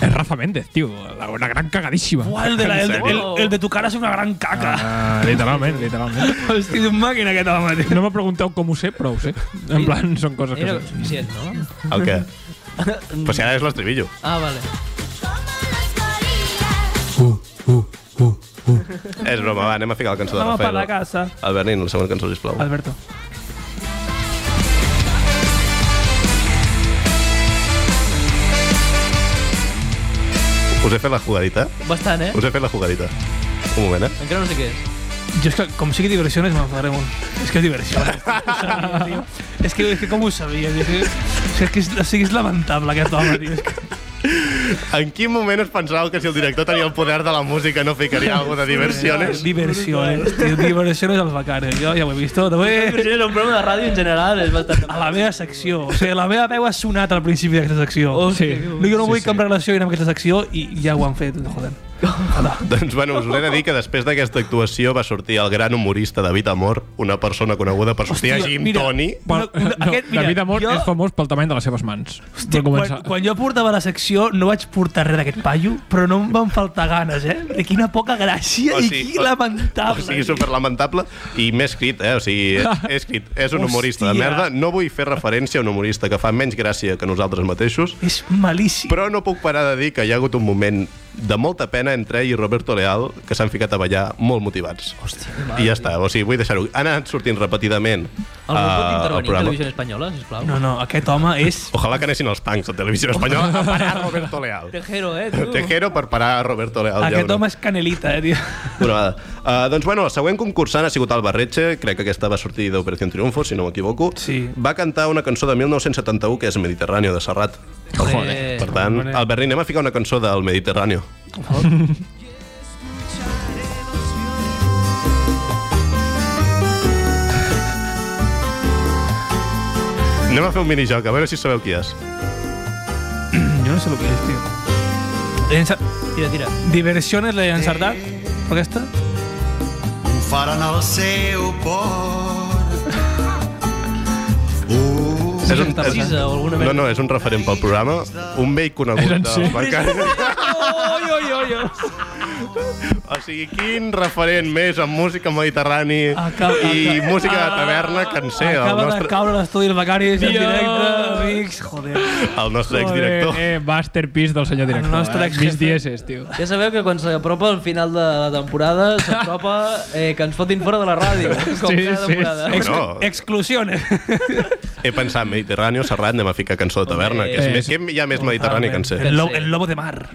A: Es Rafa Méndez, tío. La, una gran cagadísima.
B: Buah, el de, la,
A: En
B: el, de-
A: serio.
B: el- el de tu cara és una gran caca.
A: Ah, literalment, literalment.
B: Hosti, un màquina aquest home, tio.
A: No m'ha preguntat com ho sé, però ho sé. En plan, són coses que
D: Era
A: sé.
D: suficient, no?
C: El què? Però si ara és l'estribillo.
D: Ah, vale.
C: És broma, va, anem a ficar la cançó de
B: Vamos
C: Rafael.
B: para la casa.
C: Albert Nin, la segona cançó, sisplau.
B: Alberto.
C: Us he fet la jugadita?
D: Bastant, eh?
C: Us he fet la jugadita. Un moment, eh?
D: Encara no sé què és.
B: Jo és que, com sigui diversiones, me'n faré un. És que és diversió. és, que, és que com ho sabies? És que, és, que és, o sigui, és lamentable aquest home, tio. És que...
C: En quin moment us pensàveu que si el director tenia el poder de la música no ficaria alguna de diversiones?
B: Diversiones, tío. Diversiones al eh. becario. Yo ya lo he visto. Diversiones
D: Diversiones un programa de ràdio en general és bastant...
B: A la meva secció. O sigui, la meva veu ha sonat al principi d'aquesta secció. Oh, sí. No, jo no vull cap relació amb aquesta secció i ja ho han fet, joder.
C: Doncs bueno, us he de dir que després d'aquesta actuació va sortir el gran humorista David Amor, una persona coneguda per sortir a
B: Hòstia,
C: Jim
B: mira,
C: Tony.
A: Pel,
B: No,
A: no,
B: no, aquest, mira,
A: David Amor
B: jo-
A: és famós pel tamany de les seves mans. Hòstia,
B: Quan,
A: començar.
B: quan jo portava la secció no vaig portar res d'aquest paio, però no em van faltar ganes, eh? De quina poca gràcia
C: O
B: i
C: sigui,
B: quin
C: o-
B: lamentable.
C: O sigui, Oh, super lamentable i m'he escrit, eh? O sigui, he escrit, és un humorista de
B: Hòstia.
C: merda. No vull fer referència a un humorista que fa menys gràcia que nosaltres mateixos.
B: És malíssim.
C: Però no puc parar de dir que hi ha hagut un moment de molta pena entre ell i Roberto Leal que s'han ficat a ballar molt motivats. Hòstia, I ja està, o sigui, vull deixar-ho. Han anat sortint repetidament
D: Algú pot
C: ah, al
D: intervenir en
C: programa.
D: televisió espanyola, sisplau?
B: No, no, aquest home és...
C: Ojalà que anessin els punks de televisió espanyola a parar Roberto Leal.
D: Tejero, eh, tu?
C: Tejero per parar a Roberto Leal. ja
B: Aquest
C: veurem.
B: home és canelita, eh, tio.
C: Una vegada. Uh, doncs, bueno, el següent concursant ha sigut Alba Retxe, crec que aquesta va sortir d'Operació Triunfo, si no m'equivoco.
B: Sí.
C: Va cantar una cançó de 1971 que és Mediterráneo, de Serrat.
D: Joder.
C: Per tant, Albert, anem a ficar una cançó del Mediterráneo. Anem a fer un minijoc, a veure si sabeu qui és.
B: Jo no sé el que és, tio. Llença...
D: Tira, tira.
B: Diversiones l'he encertat? Però aquesta?
K: ho faran al seu port.
C: És un, és,
D: Precisa o alguna
C: no,
D: merda.
C: no, és un referent pel programa, un vell conegut
A: en
C: dels
A: sèrio?
C: mercats.
B: Oi, oi, oi, oi.
C: O sigui, quin referent més en música mediterrani
B: Acaba-
C: i
B: acaba-
C: música de taverna que en sé el
B: Acaba de
C: nostre,
B: caure l'estudi del Becaris
A: Dios.
B: en directe, amics. Joder.
C: el nostre exdirector.
A: Eh, masterpiece del senyor director.
B: El nostre
A: eh?
B: exjefe.
A: Mis dieces, tio.
D: Ja sabeu que quan s'apropa el final de la temporada s'apropa eh, que ens fotin fora de la ràdio, eh? com
A: Sí,
D: cada
A: sí,
D: temporada.
C: sí.
B: Ex
C: No.
B: Exclusiones.
C: He pensat, Mediterráneo, Serrat, anem a ficar cançó de taverna, que és
A: Eh,
C: més, que hi ha més mediterrani que en sé.
B: El, lobo, el lobo de mar.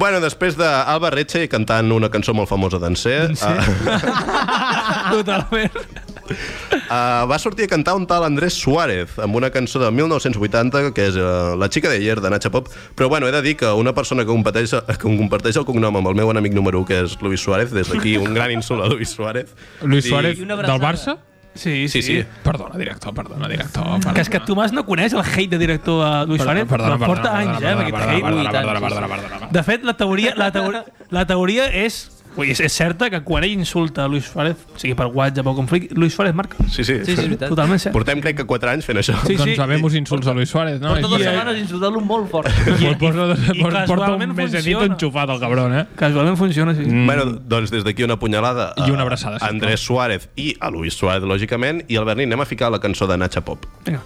C: Bueno, després d'Alba Retxe cantant una cançó molt famosa d'en C, uh,
B: Totalment.
C: uh, va sortir a cantar un tal Andrés Suárez amb una cançó de 1980 que és uh, La xica d'ayer, de Nacha Pop. Però bueno, he de dir que una persona que comparteix, que comparteix el cognom amb el meu enemic número 1, que és Luis Suárez, des d'aquí un gran insult a Luis Suárez.
A: Luis
C: Sí.
A: Suárez,
D: I una
A: del
D: abraçada.
A: Barça?
B: Sí,
C: Sí, sí.
A: Perdona, director, perdona, director. Perdona.
B: Que és que Tomàs no coneix el hate de director a Luis Suárez, però porta anys, eh, amb aquest
A: Perdona, perdona,
B: hate.
D: Sí, sí.
A: perdona, perdona, perdona.
B: De fet, la teoria, la teoria, la teoria és... Ui, és, és certa que quan ell insulta a Luis Suárez, sigui per WhatsApp o com flic, Luis Suárez marca.
C: Sí, sí.
D: Sí, sí, és veritat.
B: Totalment cert.
C: Portem, crec que 4 anys fent això.
B: Sí,
A: Doncs
B: sí.
A: sabem-vos insults a Luis Suárez, no?
D: Porta dues
A: I-
D: setmanes insultant-lo molt fort.
A: Porta- porta-
B: i
A: Porta un
B: casualment
A: mesenito
B: funciona.
A: enxufat, el cabron, eh?
B: Casualment funciona, sí. Mm.
C: Bueno, doncs des d'aquí una punyalada
A: I una abraçada,
C: a
A: sisplau.
C: Andrés Suárez i a Luis Suárez, lògicament, i al Berni anem a ficar la cançó de Nacha Pop.
B: Vinga.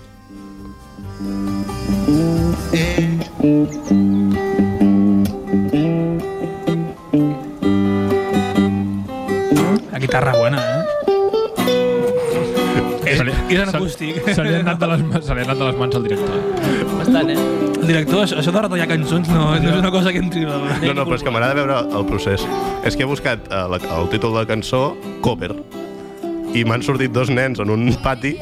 B: La guitarra buena, eh?
A: Se li-
B: I és en
A: se-
B: acústic.
A: Se li han anat de les, ma- se li han anat de les mans al director. eh?
D: Bastant, eh?
B: El director, això, això de retallar cançons no, no és una cosa que entri... No,
C: No, no, però és que m'agrada veure el procés. És que he buscat eh, la, el títol de la cançó, cover, i m'han sortit dos nens en un pati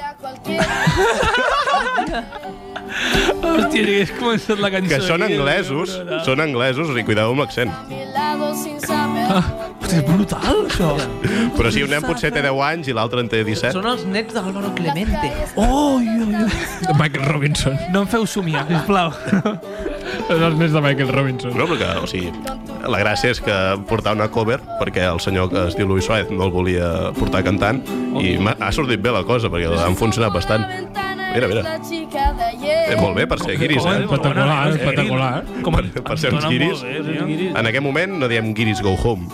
B: Hòstia, si hagués començat la cançó...
C: que són
B: aquí,
C: anglesos,
B: no, no, no.
C: són anglesos, o sigui, cuideu amb l'accent. Ah,
B: Hòstia, és brutal, això.
C: Però si un nen potser té 10 anys i l'altre en té 17.
D: Són els nets d'Álvaro Clemente.
B: Oh, jo, jo.
A: Michael Robinson.
B: No em feu somiar, sisplau.
A: És els nens de Michael Robinson.
C: No, però que, o sigui, la gràcia és que portar una cover, perquè el senyor que es diu Luis Suárez no el volia portar cantant, i m'ha- ha sortit bé la cosa, perquè han funcionat bastant. Mira, mira.
L: La chica de ayer.
C: Eh, molt bé per ser guiris, eh?
A: Espectacular, espectacular.
B: eh,
C: Com per, per ser uns guiris. eh? En aquest moment no diem guiris go home.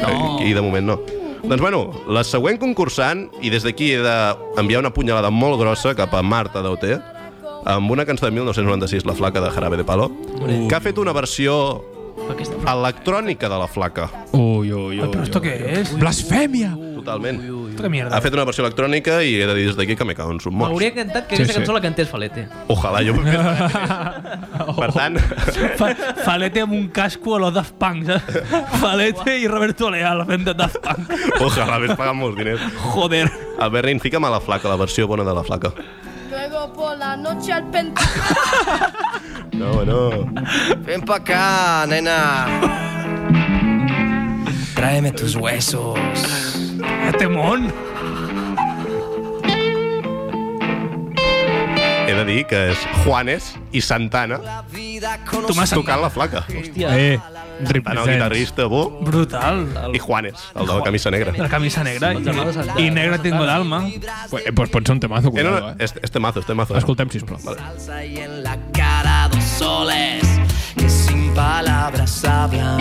C: No. I de moment no. Doncs bueno, la següent concursant, i des d'aquí he d'enviar una punyalada molt grossa cap a Marta Dauter, amb una cançó de 1996, La flaca de Jarabe de Palo, uh. que ha fet una versió electrònica de la flaca.
A: Ui, ui, ui.
B: ¿Pero esto qué es?
A: Blasfemia!
C: Totalment.
B: Otra mierda.
C: Ha fet una versió electrònica i he de dir des d'aquí que me cago en sus morts.
D: M'hauria encantat que
C: Sí,
D: aquesta
C: sí.
D: cançó la cantés Falete.
C: Ojalà jo... per tant,
B: Fa- Falete amb un casco a los Daft Punk, saps? Falete i Roberto Leal fent de Daft Punk.
C: ojalà hagués pagat molts diners.
B: Joder.
C: A Berrin, fica'm a la flaca, la versió bona de la flaca.
L: Luego por la noche al pentagrama.
C: No, no.
J: Ven pa' acá, nena. Tráeme tus huesos.
B: Temón.
C: He de dir que és Juanes i Santana
B: Tomàs Santana.
C: tocant la flaca.
B: Hòstia.
A: Eh,
C: Santana, el guitarrista bo,
B: Brutal.
C: i Juanes, el de la camisa negra.
B: De la camisa negra. I, i negra tengo el alma.
A: Pues, eh, pues pot ser un temazo,
C: Eh, no,
A: cuidado,
C: no, este, este mazo, este mazo.
A: Escoltem, sisplau.
J: Salsa y en la cara dos soles que sin palabras hablan.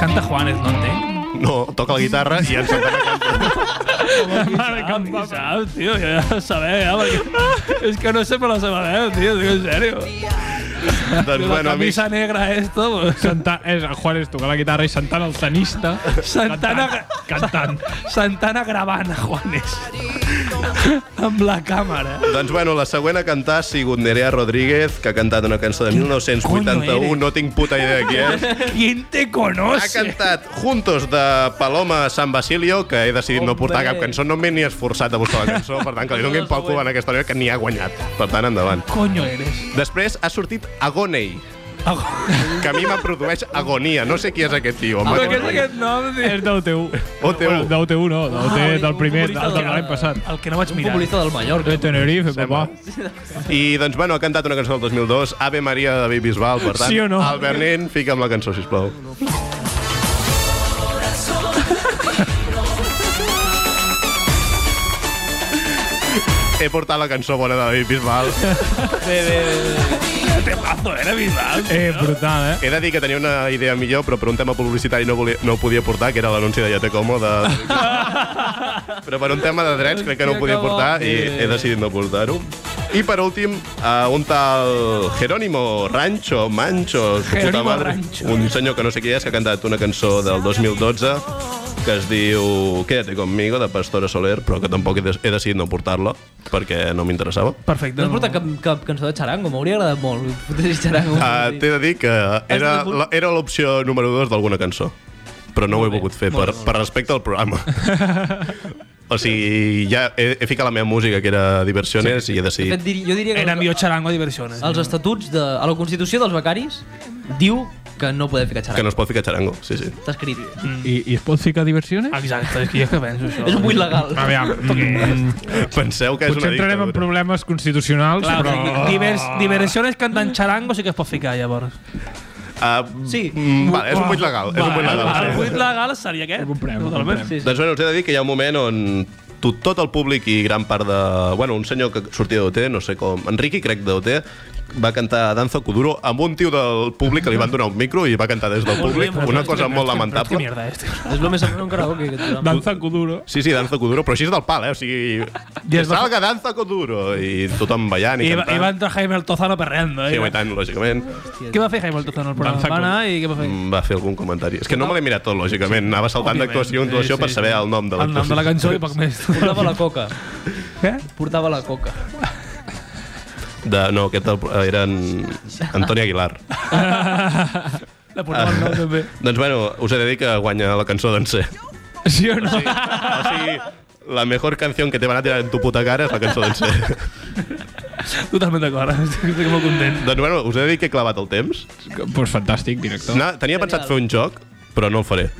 B: Canta Juanes, no entenc.
C: No, toca la guitarra i en Santana
B: Mare que em va sap, tio, ja he de saber, ja, perquè... És que no sé per la seva veu, tio, tio, en sèrio.
C: Doncs
B: la
A: bueno, amics.
B: camisa negra esto, pues.
A: Santa, és el Juanes tocant la guitarra i Santana el tenista
B: Santana,
A: cantant.
B: Santana gravant a Juanes. Amb la càmera.
C: Doncs bueno, la següent a cantar ha sigut Nerea Rodríguez, que ha cantat una cançó de 1981, no tinc puta idea de qui és.
B: ¿Quién te
C: Ha
B: conoce?
C: cantat Juntos de Paloma San Basilio, que he decidit no portar
B: Hombre.
C: cap cançó, no m'he ni esforçat a buscar la cançó, per tant, que li donin pel cul en aquesta hora que ni ha guanyat. Per tant, endavant.
B: Coño eres.
C: Després ha sortit Agonei, que a mi me produeix agonia. No sé qui és aquest tio.
B: Però
C: home.
B: què és aquest nom, tio?
A: És d'OTU.
C: OTU.
A: Bueno, d'OTU no, d'OT del primer,
B: futbolista
A: del de
B: del-
A: l'any passat.
B: El que no vaig mirar.
D: del Mallorca.
A: De Tenerife, papà.
C: I doncs, bueno, ha cantat una cançó del 2002, Ave Maria de David Bisbal, per tant,
A: Sí o no?
C: el Bernin, fica'm la cançó, sisplau. He portat la cançó bona de David Bisbal.
B: este Temazo, era Bisbal.
A: Eh, brutal, eh?
C: He de dir que tenia una idea millor, però per un tema publicitari no, volia, no ho podia portar, que era l'anunci de Yate Como. De... però per un tema de drets crec que no ho podia portar i he decidit no portar-ho. I per últim, a un tal Jerónimo Rancho, Mancho, su puta
B: Jerónimo
C: madre,
B: Rancho.
C: un senyor que no sé qui és, que ha cantat una cançó del 2012 que es diu Quédate conmigo, de Pastora Soler, però que tampoc he, de he decidit no portar-la, perquè no m'interessava.
D: No
B: Perfecte.
D: has portat cap, cap cançó de Charango, m'hauria agradat molt. Fotessis Charango.
C: Uh, T'he de dir que era la- era l'opció número 2 d'alguna cançó, però no ho he volgut fer per, per respecte al programa. o sigui, ja he, he ficat la meva música, que era Diversiones, sí. i he
D: De
C: decidit...
D: fet, dir, jo diria que
B: Era millor xarango a diversiones.
D: els estatuts de... A la Constitució dels Becaris diu que no podem ficar
C: Que
D: Charango.
C: no es pot ficar xarango, sí, sí.
D: Està escrit.
A: I, I es pot ficar diversiones?
B: Exacte, és que jo que penso això.
D: És un buit legal.
C: Ah,
A: A veure, mm,
C: Penseu que és
A: potser
C: una
A: entrarem en
C: dictadura.
A: problemes constitucionals,
B: Clar,
A: però...
B: però... divers, diversiones cantant xarango sí que es pot ficar, llavors.
C: Uh,
D: Sí.
C: mm, vale, és un buit legal, és un buit legal.
B: El,
C: sí.
B: el buit legal seria aquest.
A: Ho comprem, ho
B: Totalment.
A: comprem.
C: Doncs bueno, us he de dir que hi ha un moment on to- tot el públic i gran part de... Bueno, un senyor que sortia d'OT, no sé com... Enriqui, crec, d'OT, va cantar Danza Kuduro amb un tio del públic que li van donar un micro i va cantar des del públic. Una cosa molt
B: Que
C: lamentable.
B: mierda és, tio.
D: És el més semblant a un karaoke que et
A: Danza Kuduro.
C: Sí, sí, Danza Kuduro, però així és del pal, eh? O sigui, que salga Danza Kuduro i tothom ballant i,
B: I va,
C: cantant.
B: i va entrar Jaime Altozano perreando, eh?
C: Sí, home, i tant, lògicament.
B: Què va fer Jaime Altozano al programa?
A: Danza
B: Va anar i què va fer?
C: Mm, Va fer algun comentari. És que no me l'he mirat tot, lògicament. Anava saltant
B: Òbviament,
C: d'actuació en actuació
B: sí,
C: per
B: sí,
C: saber
B: sí.
C: el nom de
B: El nom de la cançó i poc més.
D: Portava la coca.
C: Eh?
B: Què?
D: Portava la coca.
C: De, no, aquest del, era en... Antoni Aguilar.
B: La portava el nom, també.
C: Doncs bueno, us he de dir que guanya la cançó d'en C.
A: Sí o no?
C: Sí. O sigui, la mejor canción que te van a tirar en tu puta cara és la cançó d'en C.
B: Totalment d'acord. Estic molt content.
C: doncs bueno, us he de dir que he clavat el temps.
A: Doncs pues fantàstic, director.
C: No, tenia pensat fer un joc, però no el faré.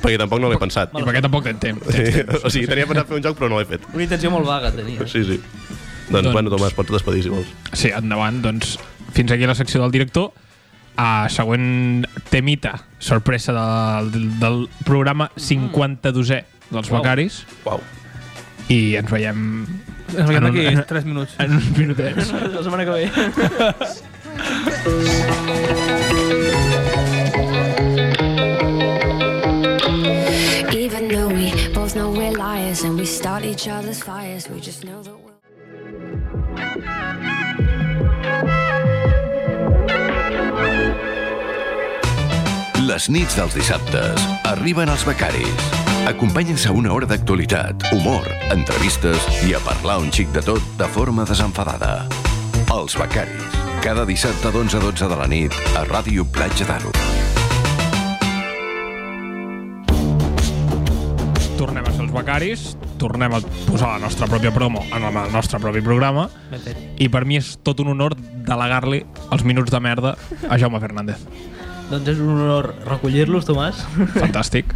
C: Perquè tampoc no l'he pensat.
A: I perquè tampoc tens temps.
C: Sí, o sigui, tenia pensat fer un joc, però no l'he fet.
D: Una intenció molt vaga tenia.
C: Sí, sí. Doncs,
A: Doncs-
C: bueno, Tomàs, pots despedir si vols.
A: Sí, endavant. Doncs fins aquí la secció del director. A següent temita, sorpresa del, del, del programa 52è dels Becaris.
C: Uau.
A: I ens veiem
B: Ens veiem d'aquí 3 minuts.
A: En uns minutets.
D: La setmana que ve.
M: Even though we both know we're liars and we start each other's fires, we just know that we'll.
H: Les nits dels dissabtes arriben els becaris. Acompanyen-se a una hora d'actualitat, humor, entrevistes i a parlar un xic de tot de forma desenfadada. Els becaris. Cada dissabte d'11 a 12 de la nit a Ràdio Platja d'Aro.
A: Tornem a ser els becaris, tornem a posar la nostra pròpia promo en el nostre propi programa
D: Ben fet.
A: i per mi és tot un honor delegar-li els minuts de merda a Jaume Fernández.
D: Doncs és un honor recollir-los, Tomàs.
A: Fantàstic.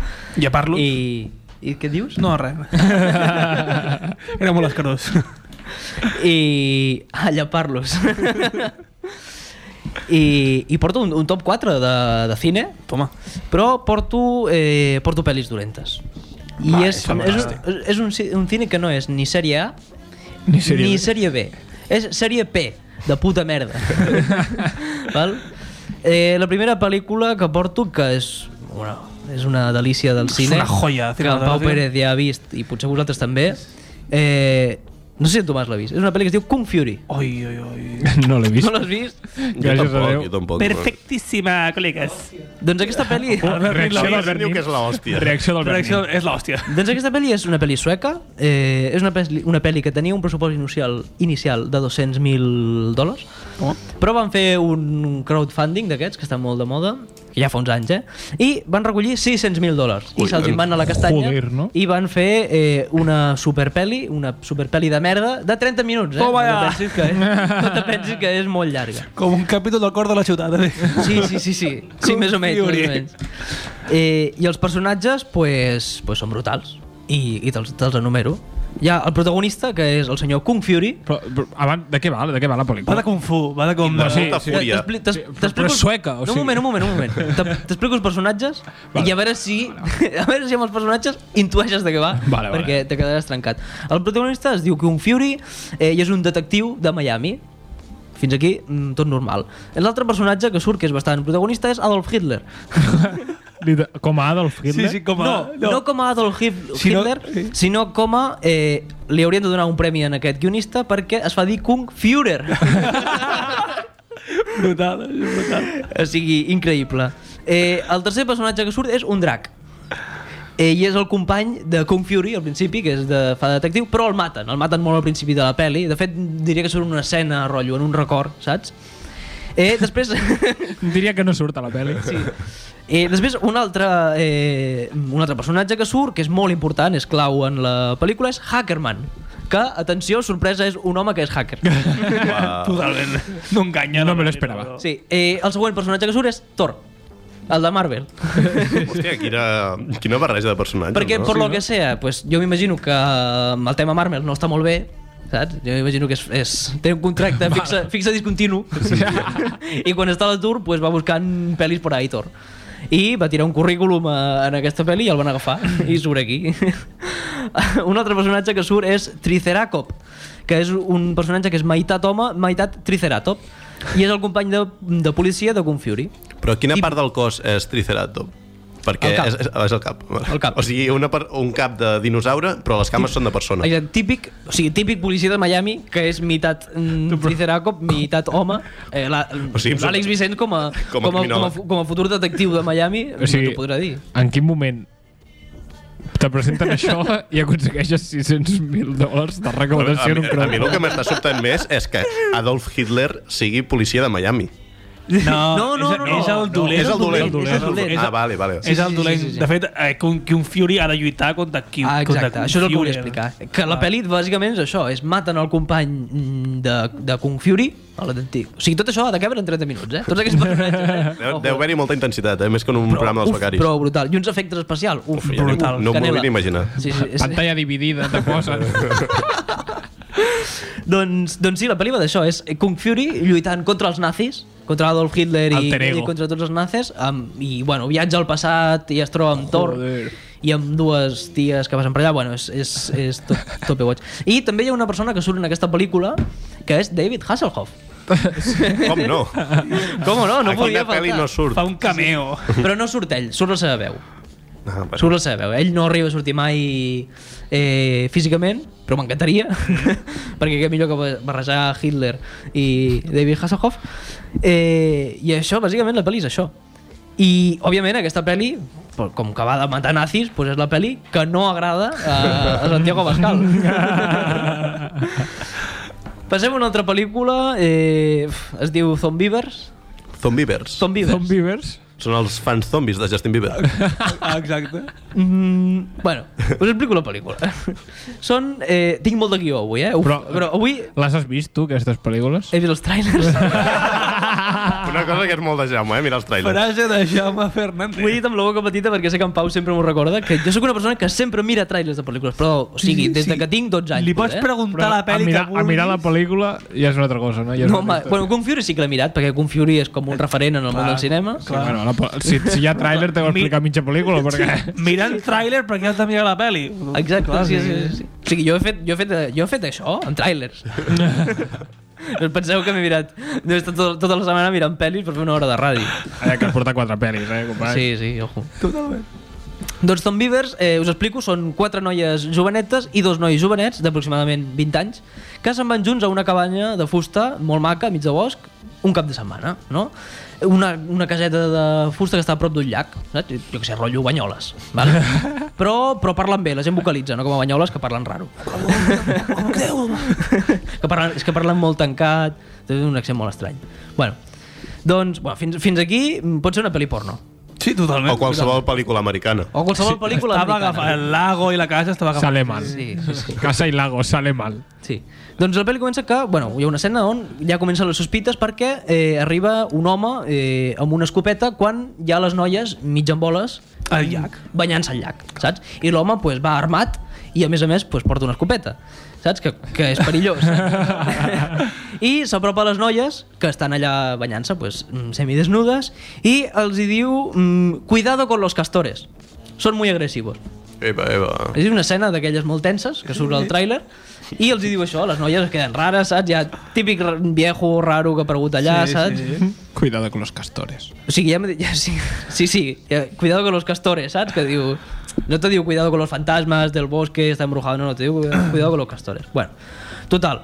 B: Ja parlo.
D: I, I què dius?
B: No, res. Era molt escarós.
D: I... Ah, llapar-los. I, I porto un, un top 4 de, de cine.
B: Toma.
D: Però porto, eh, porto pel·lis dolentes. I
B: Va, és
D: és, és,
B: fantàstic.
D: un- és un, ci- un cine que no és ni sèrie A
A: ni sèrie B.
D: ni sèrie B. És sèrie P, de puta merda. Val? Eh, la primera pel·lícula que porto, que és una, és una delícia del
B: És
D: cine,
B: una joia,
D: que
B: Cine
D: el Pau
B: Delícia.
D: Pérez ja ha vist, i potser vosaltres també, eh, no sé si en Tomàs l'ha vist, és una pel·li que es diu Kung Fury.
B: Oi, oi, oi.
A: No l'he vist.
D: No l'has vist?
A: Gràcies a Déu.
B: Perfectíssima, col·legues.
D: Doncs aquesta pel·li...
A: Reacció del Bernin. Reacció del Bernin.
B: Reacció és l'hòstia.
D: Doncs aquesta pel·li és una pel·li sueca, eh, és una pel·li, una pel·li que tenia un pressupost inicial, inicial de 200.000 dòlars,
B: oh.
D: però van fer un crowdfunding d'aquests, que està molt de moda, que ja fa uns anys, eh? I van recollir 600.000 dòlars. I
B: Ui, eh,
D: se'ls en van a la castanya
B: joder, no?
D: i van fer eh, una superpel·li, una superpel·li de merda, de 30 minuts, eh?
B: Toma
D: no,
B: ja.
D: te pensis que, no te pensis que és molt llarga.
B: Com un capítol del cor de la ciutat. Eh?
D: Sí, sí, sí, sí. Sí, més o menys. Més o menys. Eh, I els personatges, pues, pues són brutals. I, i te'ls te enumero. Hi ha el protagonista, que és el senyor Kung Fury.
A: Però, però abans, de què va? De què va la pel·lícula?
B: Va de Kung Fu, va de com...
A: Va, sí, sí.
D: T'expli- t'es- t'explico-
A: és sueca, o
D: no, un
A: sigui.
D: moment, un moment, un moment. T'e- T'explico els personatges i a veure si a veure si amb els personatges intueixes de què va,
A: Vale, vale.
D: perquè te quedaràs trencat. El protagonista es diu Kung Fury eh, i és un detectiu de Miami. Fins aquí, mm, tot normal. L'altre personatge que surt, que és bastant protagonista, és Adolf Hitler.
A: Liter- Com a Adolf Hitler?
D: no, no. com a Adolf Hip-
A: Si no-
D: Hitler, sinó, com a... Eh, li haurien de donar un premi en aquest guionista perquè es fa dir Kung Führer.
B: brutal, brutal.
D: O sigui, increïble. Eh, el tercer personatge que surt és un drac. Eh, I és el company de Kung Fury al principi, que és de, fa de detectiu, però el maten. El maten molt al principi de la pel·li. De fet, diria que surt en una escena, rotllo, en un record, saps? Eh, després...
A: Diria que no surt a la pel·li.
D: Sí. Eh, després, un altre, eh, un altre personatge que surt, que és molt important, és clau en la pel·lícula, és Hackerman. Que, atenció, sorpresa, és un home que és hacker.
B: Totalment. No enganya.
A: No me lo esperava.
D: Sí, eh, el següent personatge que surt és Thor, el de Marvel.
C: Hòstia, quina, quina barreja de personatges,
D: Perquè,
C: no?
D: por lo que sea, pues, jo m'imagino que eh, el tema Marvel no està molt bé, saps? Jo m'imagino que és, és, té un contracte fixa, fixa discontinu. I quan està a l'atur, pues, va buscant pel·lis per ahí, Thor. I va tirar un currículum eh, en aquesta pel·li i el van agafar. I surt aquí. un altre personatge que surt és Triceracop, que és un personatge que és meitat home, meitat triceratop. I és el company de, de policia de Kung Fury.
C: Però quina part del cos és Triceratop? Perquè
D: El cap.
C: és, és, és el cap.
D: El cap.
C: O sigui, una, per- un cap de dinosaure, però les cames són de persona.
D: Exacte, típic, o sigui, típic policia de Miami, que és meitat mm, triceracop, meitat home. Eh, la-
A: O sigui, em sembla-
D: L'Àlex Vicent com a,
A: Com a
D: com, a, com, a,
A: criminòleg.
D: fu- com a futur detectiu de Miami
A: O sigui,
D: no t'ho podrà dir.
A: En quin moment te presenten això i aconsegueixes 600.000 dòlars de
C: a,
A: recaudació en
C: mi,
A: un
C: a mi el que
A: crowdfunding?
C: m'està sobtant més és que Adolf Hitler sigui policia de Miami.
B: No,
D: No, no,
B: és,
D: no, no.
B: és el dolent.
C: És el dolent.
B: És el dolent.
C: Ah, vale, vale.
B: És el dolent.
D: sí, sí, sí.
B: De fet, eh, que un, que un Fury ha de lluitar contra Q.
D: Ah,
B: contra
D: exacte,
B: Kung
D: això és el que volia
B: Fury. Ah.
D: explicar. Que la pel·li bàsicament és això, és maten el company mm, de, de Kung Fury, a l'antic. O sigui, tot això ha de cabre en 30 minuts, eh? Tots aquests personatges, eh?
C: Deu, deu haver-hi molta intensitat, eh? més que en un programa dels
D: Uf,
C: becaris.
D: però brutal. I uns efectes especials. Uf,
C: ja
D: brutal.
C: No, no m'ho
D: Canela.
C: vull ni imaginar.
D: Sí, sí, és-
A: Pantalla dividida, te posen...
D: Doncs, doncs sí, la pel·li va d'això, és Kung Fury lluitant contra els nazis, contra Adolf Hitler i,
A: Alter ego.
D: i contra tots els nazis, um, i bueno, viatja al passat i es troba amb Thor, i amb dues ties que passen per allà, bueno, és, és, és tot, tot bé boig. I també hi ha una persona que surt en aquesta pel·lícula que és David Hasselhoff.
C: Com no?
D: Com no? No
C: Aquí
D: podia
C: la peli
D: faltar.
C: no surt. Fa
B: un cameo.
D: Però no surt ell, surt la seva veu.
C: Ah,
D: Surt la seva veu. Ell no arriba a sortir mai eh, físicament, però m'encantaria, perquè què millor que ba- barrejar Hitler i David Hasselhoff. Eh, I això, bàsicament, la pel·li és això. I, òbviament, aquesta pel·li, per- com que va de matar nazis, doncs és la pel·li que no agrada a, a Santiago Pascal. Passem a una altra pel·lícula, eh, es diu Zombivers.
C: Zombivers.
D: Zombivers.
A: Zombivers.
C: Són els fans zombis de Justin Bieber.
B: Exacte.
D: Mm, bueno, us explico la pel·lícula. Són... Eh, tinc molt de guió avui, eh? Uf, però, però avui...
A: Les has vist, tu, aquestes pel·lícules?
D: He vist els trailers.
C: Una cosa que és molt de Jaume, eh? Mira els trailers.
B: Frase de Jaume Fernández.
D: Ho he dit amb la boca petita perquè sé que en Pau sempre m'ho recorda, que jo sóc una persona que sempre mira trailers de pel·lícules, però, o sigui, des de que tinc 12 anys.
B: Li pots
D: eh?
B: preguntar Però la
A: a
B: pel·li
A: mirar, a mirar la pel·lícula ja és una altra cosa, no? Ja és
D: No,
A: una
D: home,
A: altra
D: bueno, Kung Fury sí que l'he mirat, perquè Kung Fury és com un referent en el món
A: Clar,
D: del cinema.
A: Sí, bueno, la, pel- si, si hi ha tràiler, t'heu explicar mitja pel·lícula, perquè...
B: Mirant tràiler perquè has de mirar la pel·li.
D: Exacte,
B: Clar,
D: sí, sí, sí. O sigui, jo he fet, jo he fet, jo he fet això, amb trailers. no penseu que m'he mirat... Jo he estat tot, tota la setmana mirant pel·lis per fer una hora de ràdio.
A: Ara que has portat quatre pel·lis, eh, company?
D: Sí, sí, ojo. Doncs Tom Beavers, eh, us explico, són quatre noies jovenetes i dos nois jovenets d'aproximadament 20 anys que se'n van junts a una cabanya de fusta molt maca, mig de bosc, un cap de setmana, no? Una, una caseta de fusta que està a prop d'un llac, saps? jo que sé, rotllo Banyoles, val? però, però parlen bé, la gent vocalitza, no com a Banyoles, que parlen raro. que parlen, és que parlen molt tancat, tenen un accent molt estrany. Bueno, doncs, bueno, fins, fins aquí mm, pot ser una pel·li porno.
B: Sí, totalment.
C: O qualsevol pel·lícula americana.
D: O qualsevol pel·lícula
B: Estava
D: americana.
B: agafat, el lago i la casa estava agafat.
A: Sale mal.
D: Sí, sí, sí.
A: Casa i Lago, sale mal.
D: Sí. Doncs la pel·li comença que, bueno, hi ha una escena on ja comencen les sospites perquè eh, arriba un home eh, amb una escopeta quan hi ha les noies mig en boles
B: al llac,
D: banyant-se al llac, saps? I l'home pues, va armat i a més a més pues, porta una escopeta, saps? Que, que és perillós. I s'apropa a les noies que estan allà banyant-se pues, mm, semidesnudes i els hi diu mm, cuidado con los castores, són muy agresivos.
C: Eva, Eva.
D: És una escena d'aquelles molt tenses que surt al tràiler i els hi diu això, les noies es queden rares, saps? Ja típic ra- viejo raro que ha aparegut allà,
A: Sí,
D: saps?
A: sí. Cuidado con los castores.
D: O sigui, ja, m'he dit- ja sí, sí, sí, ja, cuidado con los castores, saps? Que diu, no te diu cuidado con los fantasmas del bosque, está embrujado, no, no, te diu cuidado con los castores. Bueno, total,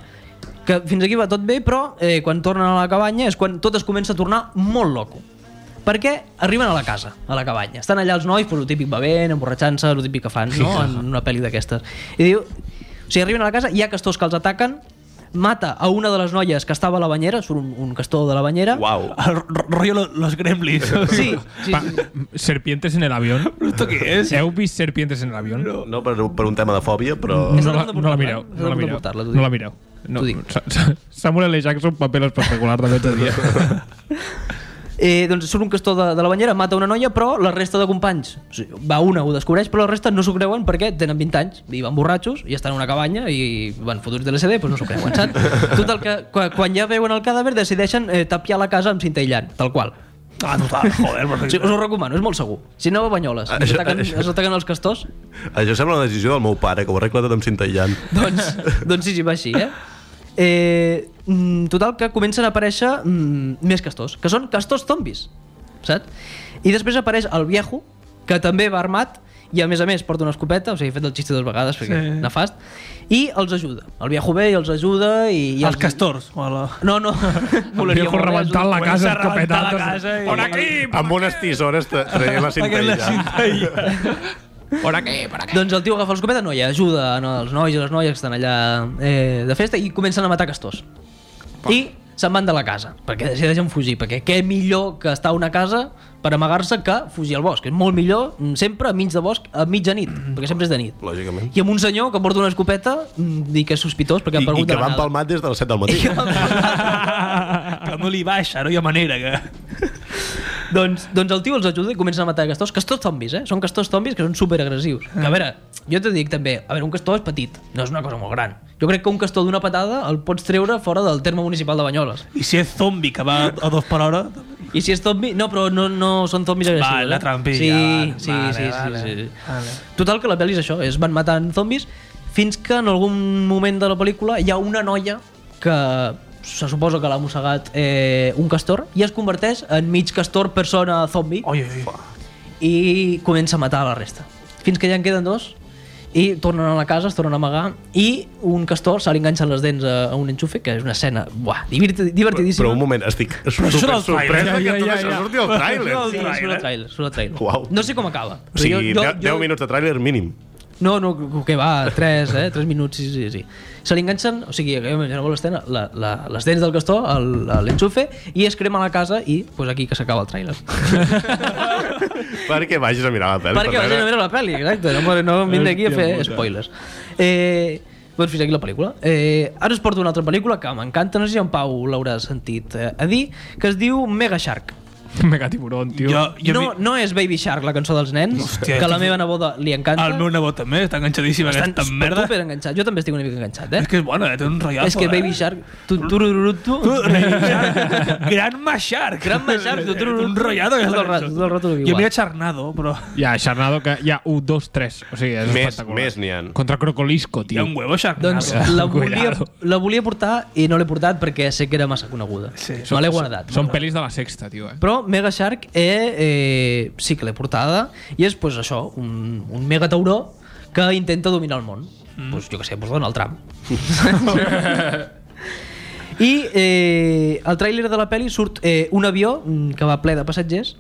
D: que fins aquí va tot bé, però eh, quan tornen a la cabanya és quan tot es comença a tornar molt loco. Perquè arriben a la casa, a la cabanya. Estan allà els nois, pues, el típic bevent, emborratxant-se, el típic que fan, no? En una pel·li d'aquestes. I diu... O sigui, arriben a la casa, hi ha castors que els ataquen, mata a una de les noies que estava a la banyera, surt un, un castor de la banyera.
C: Wow.
B: El ro- rotllo lo- los gremlins.
D: Sí, sí,
A: Pa- Serpientes en el avión.
B: ¿Esto qué es?
A: Heu vist Serpientes en el avión? No,
C: No per, per un tema de fòbia, però...
A: no, la, no la mireu.
D: Has de
A: No la mireu.
D: portar-la, t'ho
A: No
D: dic.
A: la mireu. No, Sa- Sa- Samuel L. Jackson, paper espectacular també t'ho diria.
D: Eh, doncs surt un castor de, de la banyera, mata una noia, però la resta de companys, o sigui, va una, ho descobreix, però la resta no s'ho creuen perquè tenen 20 anys i van borratxos i estan a una cabanya i van fotuts de l'SD, doncs no s'ho creuen, saps? Tot el que, quan, quan ja veuen el cadàver decideixen eh, tapiar la casa amb cinta aïllant, tal qual.
B: Ah, total, joder,
D: Sí, us ho recomano, és molt segur. Si no, a Banyoles.
C: Ah,
D: Es
C: això-
D: ataquen,
C: això-
D: es ataquen els castors,
C: Això sembla una decisió del meu pare, que ho arregla tot amb cinta aïllant.
D: doncs, doncs sí, sí, va així, eh? eh mm, total, que comencen a aparèixer mm, més castors, que són castors zombis, saps? I després apareix el viejo, que també va armat, i a més a més porta una escopeta, o sigui, he fet el xiste dues vegades, perquè
B: Sí.
D: sí. nefast, i els ajuda. El viejo ve i els ajuda i... i
B: Els castors. o la-
D: No, no.
A: El
D: Volaria
A: viejo
D: molt bé
A: rebentant la
D: ajudar.
A: casa,
B: Comença a rebentar la
A: escopetat.
B: casa i-
A: Por aquí,
C: Amb unes tisores tra- traient la cinta
B: Aquella
C: aïllant.
B: cinta aïllant.
A: por aquí, por aquí.
D: Doncs el tio agafa l'escopeta, no, i ajuda no, els nois i les noies que estan allà eh, de festa i comencen a matar castors. I se'n van de la casa, perquè decideixen fugir, perquè què millor que estar a una casa per amagar-se que fugir al bosc. És molt millor mm, sempre a mig de bosc, a mitjanit, perquè sempre és de nit.
C: Lògicament.
D: I amb un senyor que porta una escopeta, mm, dic que és sospitós perquè han
C: I, i
D: perdut
C: que
D: de la
C: van
D: nada.
C: palmat des de les 7 del matí.
B: Que no li baixa, no hi ha manera que...
D: doncs, doncs el tio els ajuda i comencen a matar castors, castors zombis, eh? Són castors zombis que són superagressius. Que, a veure, jo t'ho dic també, a veure, un castor és petit, no és una cosa molt gran. Jo crec que un castor d'una patada el pots treure fora del terme municipal de Banyoles.
B: I si és zombi que va a dos per hora...
D: I si és zombi... No, però no, no són zombis agressius.
B: Vale,
D: eh?
B: la trampilla,
D: Sí,
B: vale,
D: sí,
B: vale,
D: sí, sí,
B: vale,
D: sí, sí.
B: vale.
D: Total, que la pel·li és això, es van matant zombis fins que en algun moment de la pel·lícula hi ha una noia que se suposa que l'ha mossegat eh, un castor i es converteix en mig castor persona zombi oi, oi, oi. i comença a matar la resta. Fins que ja en queden dos i tornen a la casa, es tornen a amagar i un castor se li enganxa les dents a, a un enxufe, que és una escena buah, diverti- divertidíssima.
C: Però un moment, estic super sorprès ja, ja, que tot això surti al tràiler.
D: Sí, surt al tràiler, surt al tràiler.
C: eh? Uau.
D: No sé com acaba.
C: O sigui,
D: Però jo- jo-
C: 10,
D: jo-
C: minuts de tràiler mínim.
D: No, no, que va, 3, eh? 3 minuts, sí, sí, sí. Se li enganxen, o sigui, que imagina molt l'escena, la, la, les dents del castor, el- a l'enxufe, i es crema la casa i pues, aquí que s'acaba el tràiler.
C: Perquè vagis a mirar la pel·li.
D: Perquè vagin a veure la pel·li, exacte. No, no vindré aquí a
C: Hòstia
D: fer
C: puta.
D: spoilers. Eh, doncs fins aquí la pel·lícula. Eh, ara us porto una altra pel·lícula que m'encanta, no sé si en Pau l'haurà sentit eh, a dir, que es diu Mega Shark.
A: Mega tiburón, tio.
D: Jo, jo no, no és Baby Shark, la cançó dels nens, Hòstia, que a la meva neboda li encanta.
B: El meu nebot també està enganxadíssim a
D: Estan
B: aquesta merda.
D: super enganxat. Jo també estic una mica enganxat, eh?
B: És que és bona, eh? té un rotllazo.
D: És que
B: eh?
D: Baby Shark... Tu, tu, tu, tu,
B: Gran Mashark.
D: Gran Mashark. Tu, tu, tu,
B: un rotllazo.
D: Tot el rato, tot el rato
B: Jo mira Charnado, però...
A: Hi ha Xarnado, que hi ha 1, 2, 3. O sigui, és
C: Més-
A: espectacular.
C: més n'hi ha.
A: Contra Crocolisco, tio.
B: Hi ha un huevo Xarnado.
D: Doncs la volia, la volia portar i no l'he portat perquè sé que era massa coneguda. Sí. Me l'he guardat.
A: Són pel·lis de la sexta, tio, eh?
D: Però Mega Shark eh, eh, sí que l'he portada i és pues, això, un, un mega tauró que intenta dominar el món. Mm. Pues, jo que sé, pues Donald Trump. I eh, al tràiler de la pel·li surt eh, un avió mm, que va ple de passatgers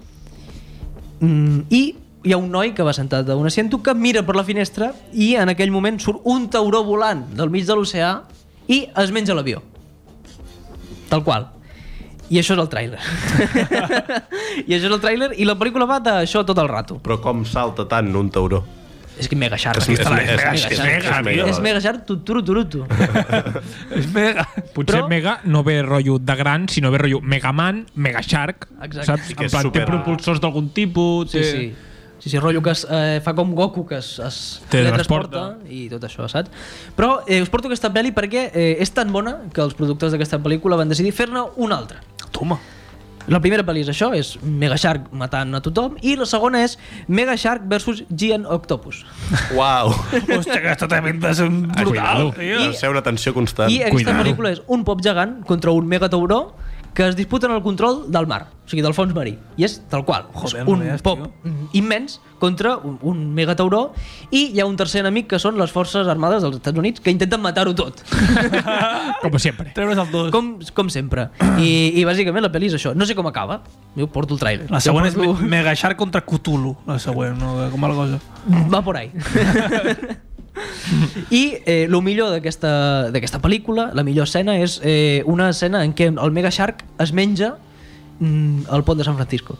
D: mm, i hi ha un noi que va sentat a un asiento que mira per la finestra i en aquell moment surt un tauró volant del mig de l'oceà i es menja l'avió. Tal qual. I això és el tràiler. I això és el tràiler i la pel·lícula va d'això tot el rato.
C: Però com salta tant un tauró?
D: És que mega xarra.
C: És, és, és, és, és,
D: Mega
C: és,
D: Shark.
C: mega, mega.
D: És mega xarra, tu, tu, tu, tu.
A: Potser Mega no ve rotllo de gran, sinó ve rotllo Megaman, Mega Shark,
D: Exacte.
A: saps?
D: Sí que
A: En
D: és
A: plan, té
D: super-
A: propulsors d'algun tipus,
D: Sí,
A: té...
D: sí. Sí, sí, rotllo que es, eh, fa com Goku, que es, es
A: Te
D: teletransporta i tot això, saps? Però eh, us porto aquesta pel·li perquè eh, és tan bona que els productors d'aquesta pel·lícula van decidir fer-ne una altra. Toma! La primera pel·li és això, és Mega Shark matant a tothom, i la segona és Mega Shark versus Giant Octopus.
C: Uau.
B: Hòstia, aquesta també ha de ser brutal, tio.
C: Deu ser una tensió constant.
D: I aquesta pel·lícula és un pop gegant contra un mega tauró que es disputen el control del mar, o sigui, del fons marí. I és tal qual.
B: Joder,
D: és
B: no
D: un
B: veus,
D: pop immens contra un, un mega tauró i hi ha un tercer enemic que són les forces armades dels Estats Units que intenten matar-ho tot.
A: com sempre.
B: Treure's el dos.
D: Com, com sempre. I, I bàsicament la pel·li és això. No sé com acaba. Jo porto el tràiler.
B: La següent és
D: Jo porto-
B: Me- Mega Shark contra Cthulhu, la següent, no? com alguna cosa.
D: Mm. Va por ahí. I eh, el millor d'aquesta d'aquesta pel·lícula, la millor escena, és eh, una escena en què el Mega Shark es menja mm, el pont de San Francisco.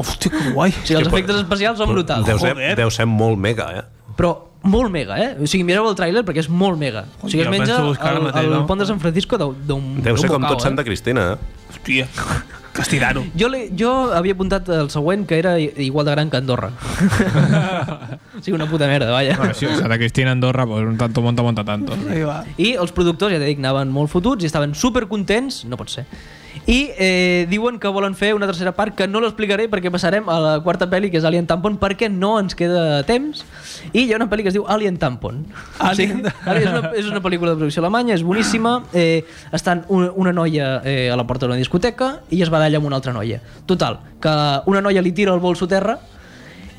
B: Hòstia, que guai.
D: O sigui, els efectes especials són brutals.
C: Deu ser, deu ser molt mega, eh?
D: Però molt mega, eh? O sigui, mireu el tràiler perquè és molt mega. O sigui,
C: Ja
D: es
C: penso
D: menja
C: buscar ara
D: el,
C: mateix,
D: el
C: no?
D: pont de San Francisco d'un d'un
C: Deu ser com
D: bocau,
C: tot Santa Cristina, eh?
B: Hòstia, castirano.
D: Jo, l'he- jo havia apuntat el següent, que era i- igual de gran que Andorra. o sigui, una puta merda, vaja.
A: Bueno, sí, Santa Cristina, Andorra, pues un tanto monta, monta tanto.
D: I els productors, ja t'he dit, anaven molt fotuts i estaven super contents, no pot ser. I eh, diuen que volen fer una tercera part que no l'explicaré perquè passarem a la quarta pel·li que és Alien Tampon perquè no ens queda temps i hi ha una pel·li que es diu Alien Tampon Alien... Sí, és, una, és una pel·lícula de producció alemanya, és boníssima eh, estan una, una noia eh, a la porta d'una discoteca i es baralla amb una altra noia total, que una noia li tira el bolso a terra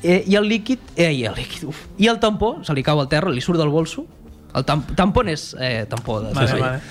D: eh, i el líquid, eh, i el líquid, uf, i el tampó se li cau al terra, li surt del bolso. El tam tampó és eh, tampó. De,
B: Vale,
D: sí, sí.
B: vale.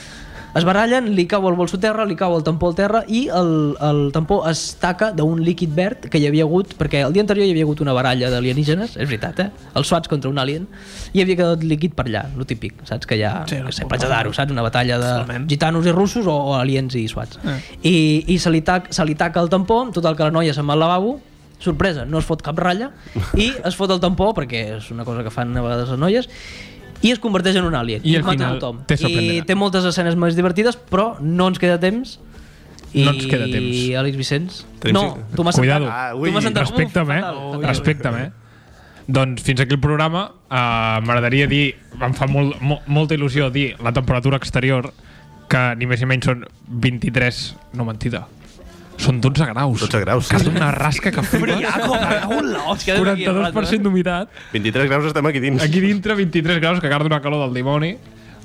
D: Es barallen, li cau el bolso a terra, li cau el tampó al terra i el, el tampó es taca d'un líquid verd que hi havia hagut, perquè el dia anterior hi havia hagut una baralla d'alienígenes, és veritat, eh? Els suats contra un alien, i havia quedat líquid per allà, lo típic, saps? Que hi ha, sí, que sé, Platja d'Aro, saps? Una batalla de gitanos i russos o, o aliens i suats. Eh. I, i se, li taca, se li taca el tampó, total que la noia se'n va al lavabo, sorpresa, no es fot cap ratlla i es fot el tampó perquè és una cosa que fan a vegades les noies i es converteix en un alien
A: I al
D: mata
A: final
D: tothom.
A: te sorprendrà.
D: I té moltes escenes més divertides però no ens queda temps i
A: No ens queda temps.
D: Àlex Vicenç
A: Tenim
D: no,
A: cinc-
D: tu m'has
A: Cuidado.
D: sentat, ah,
A: Ui,
D: tu m'has sentat
A: respecta'm, eh?
D: fatal,
A: Respecta'm, eh? Doncs fins aquí el programa. Uh, M'agradaria dir, em fa molt, mo, molta il·lusió dir la temperatura exterior, que ni més ni menys són 23... No, mentida. Són Són 12 graus.
C: 12 graus,
A: Que
C: sí.
A: sí. una rasca que flipes.
B: Friaco, cago en la hòstia.
D: eh?
A: 42% d'humitat.
C: 23 graus estem aquí dins.
A: Aquí dintre, 23 graus, que acaba d'una calor del dimoni.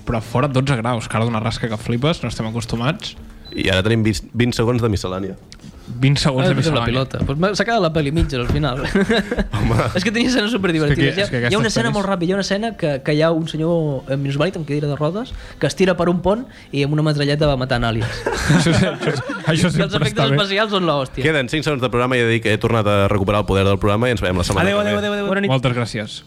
A: Però fora, 12 graus, que ara d'una rasca que flipes, no estem acostumats.
C: I ara tenim 20, 20 segons de miscel·lània.
A: 20 segons de
D: Ah, la
A: miscel·lània.
D: pilota. Pues m'ha- S'ha quedat la pel·li mitja al final. és que tenia escenes superdivertides.
A: És que- és que
D: hi ha, hi ha una
A: aquestes
D: escena
A: pel·lis-
D: molt ràpida, hi ha una escena que, que hi ha un senyor eh, minusvàlid amb cadira de rodes que es tira per un pont i amb una metralleta va matant aliens.
A: Això
D: Els
C: sempre
D: efectes
C: està bé.
D: especials són l'hòstia.
C: Queden 5 segons de programa i he de dir que he tornat a recuperar el poder del programa i ens veiem la setmana
D: Adeu,
C: que ve.
D: adeu, adeu, adeu. Bona nit.
A: Moltes gràcies.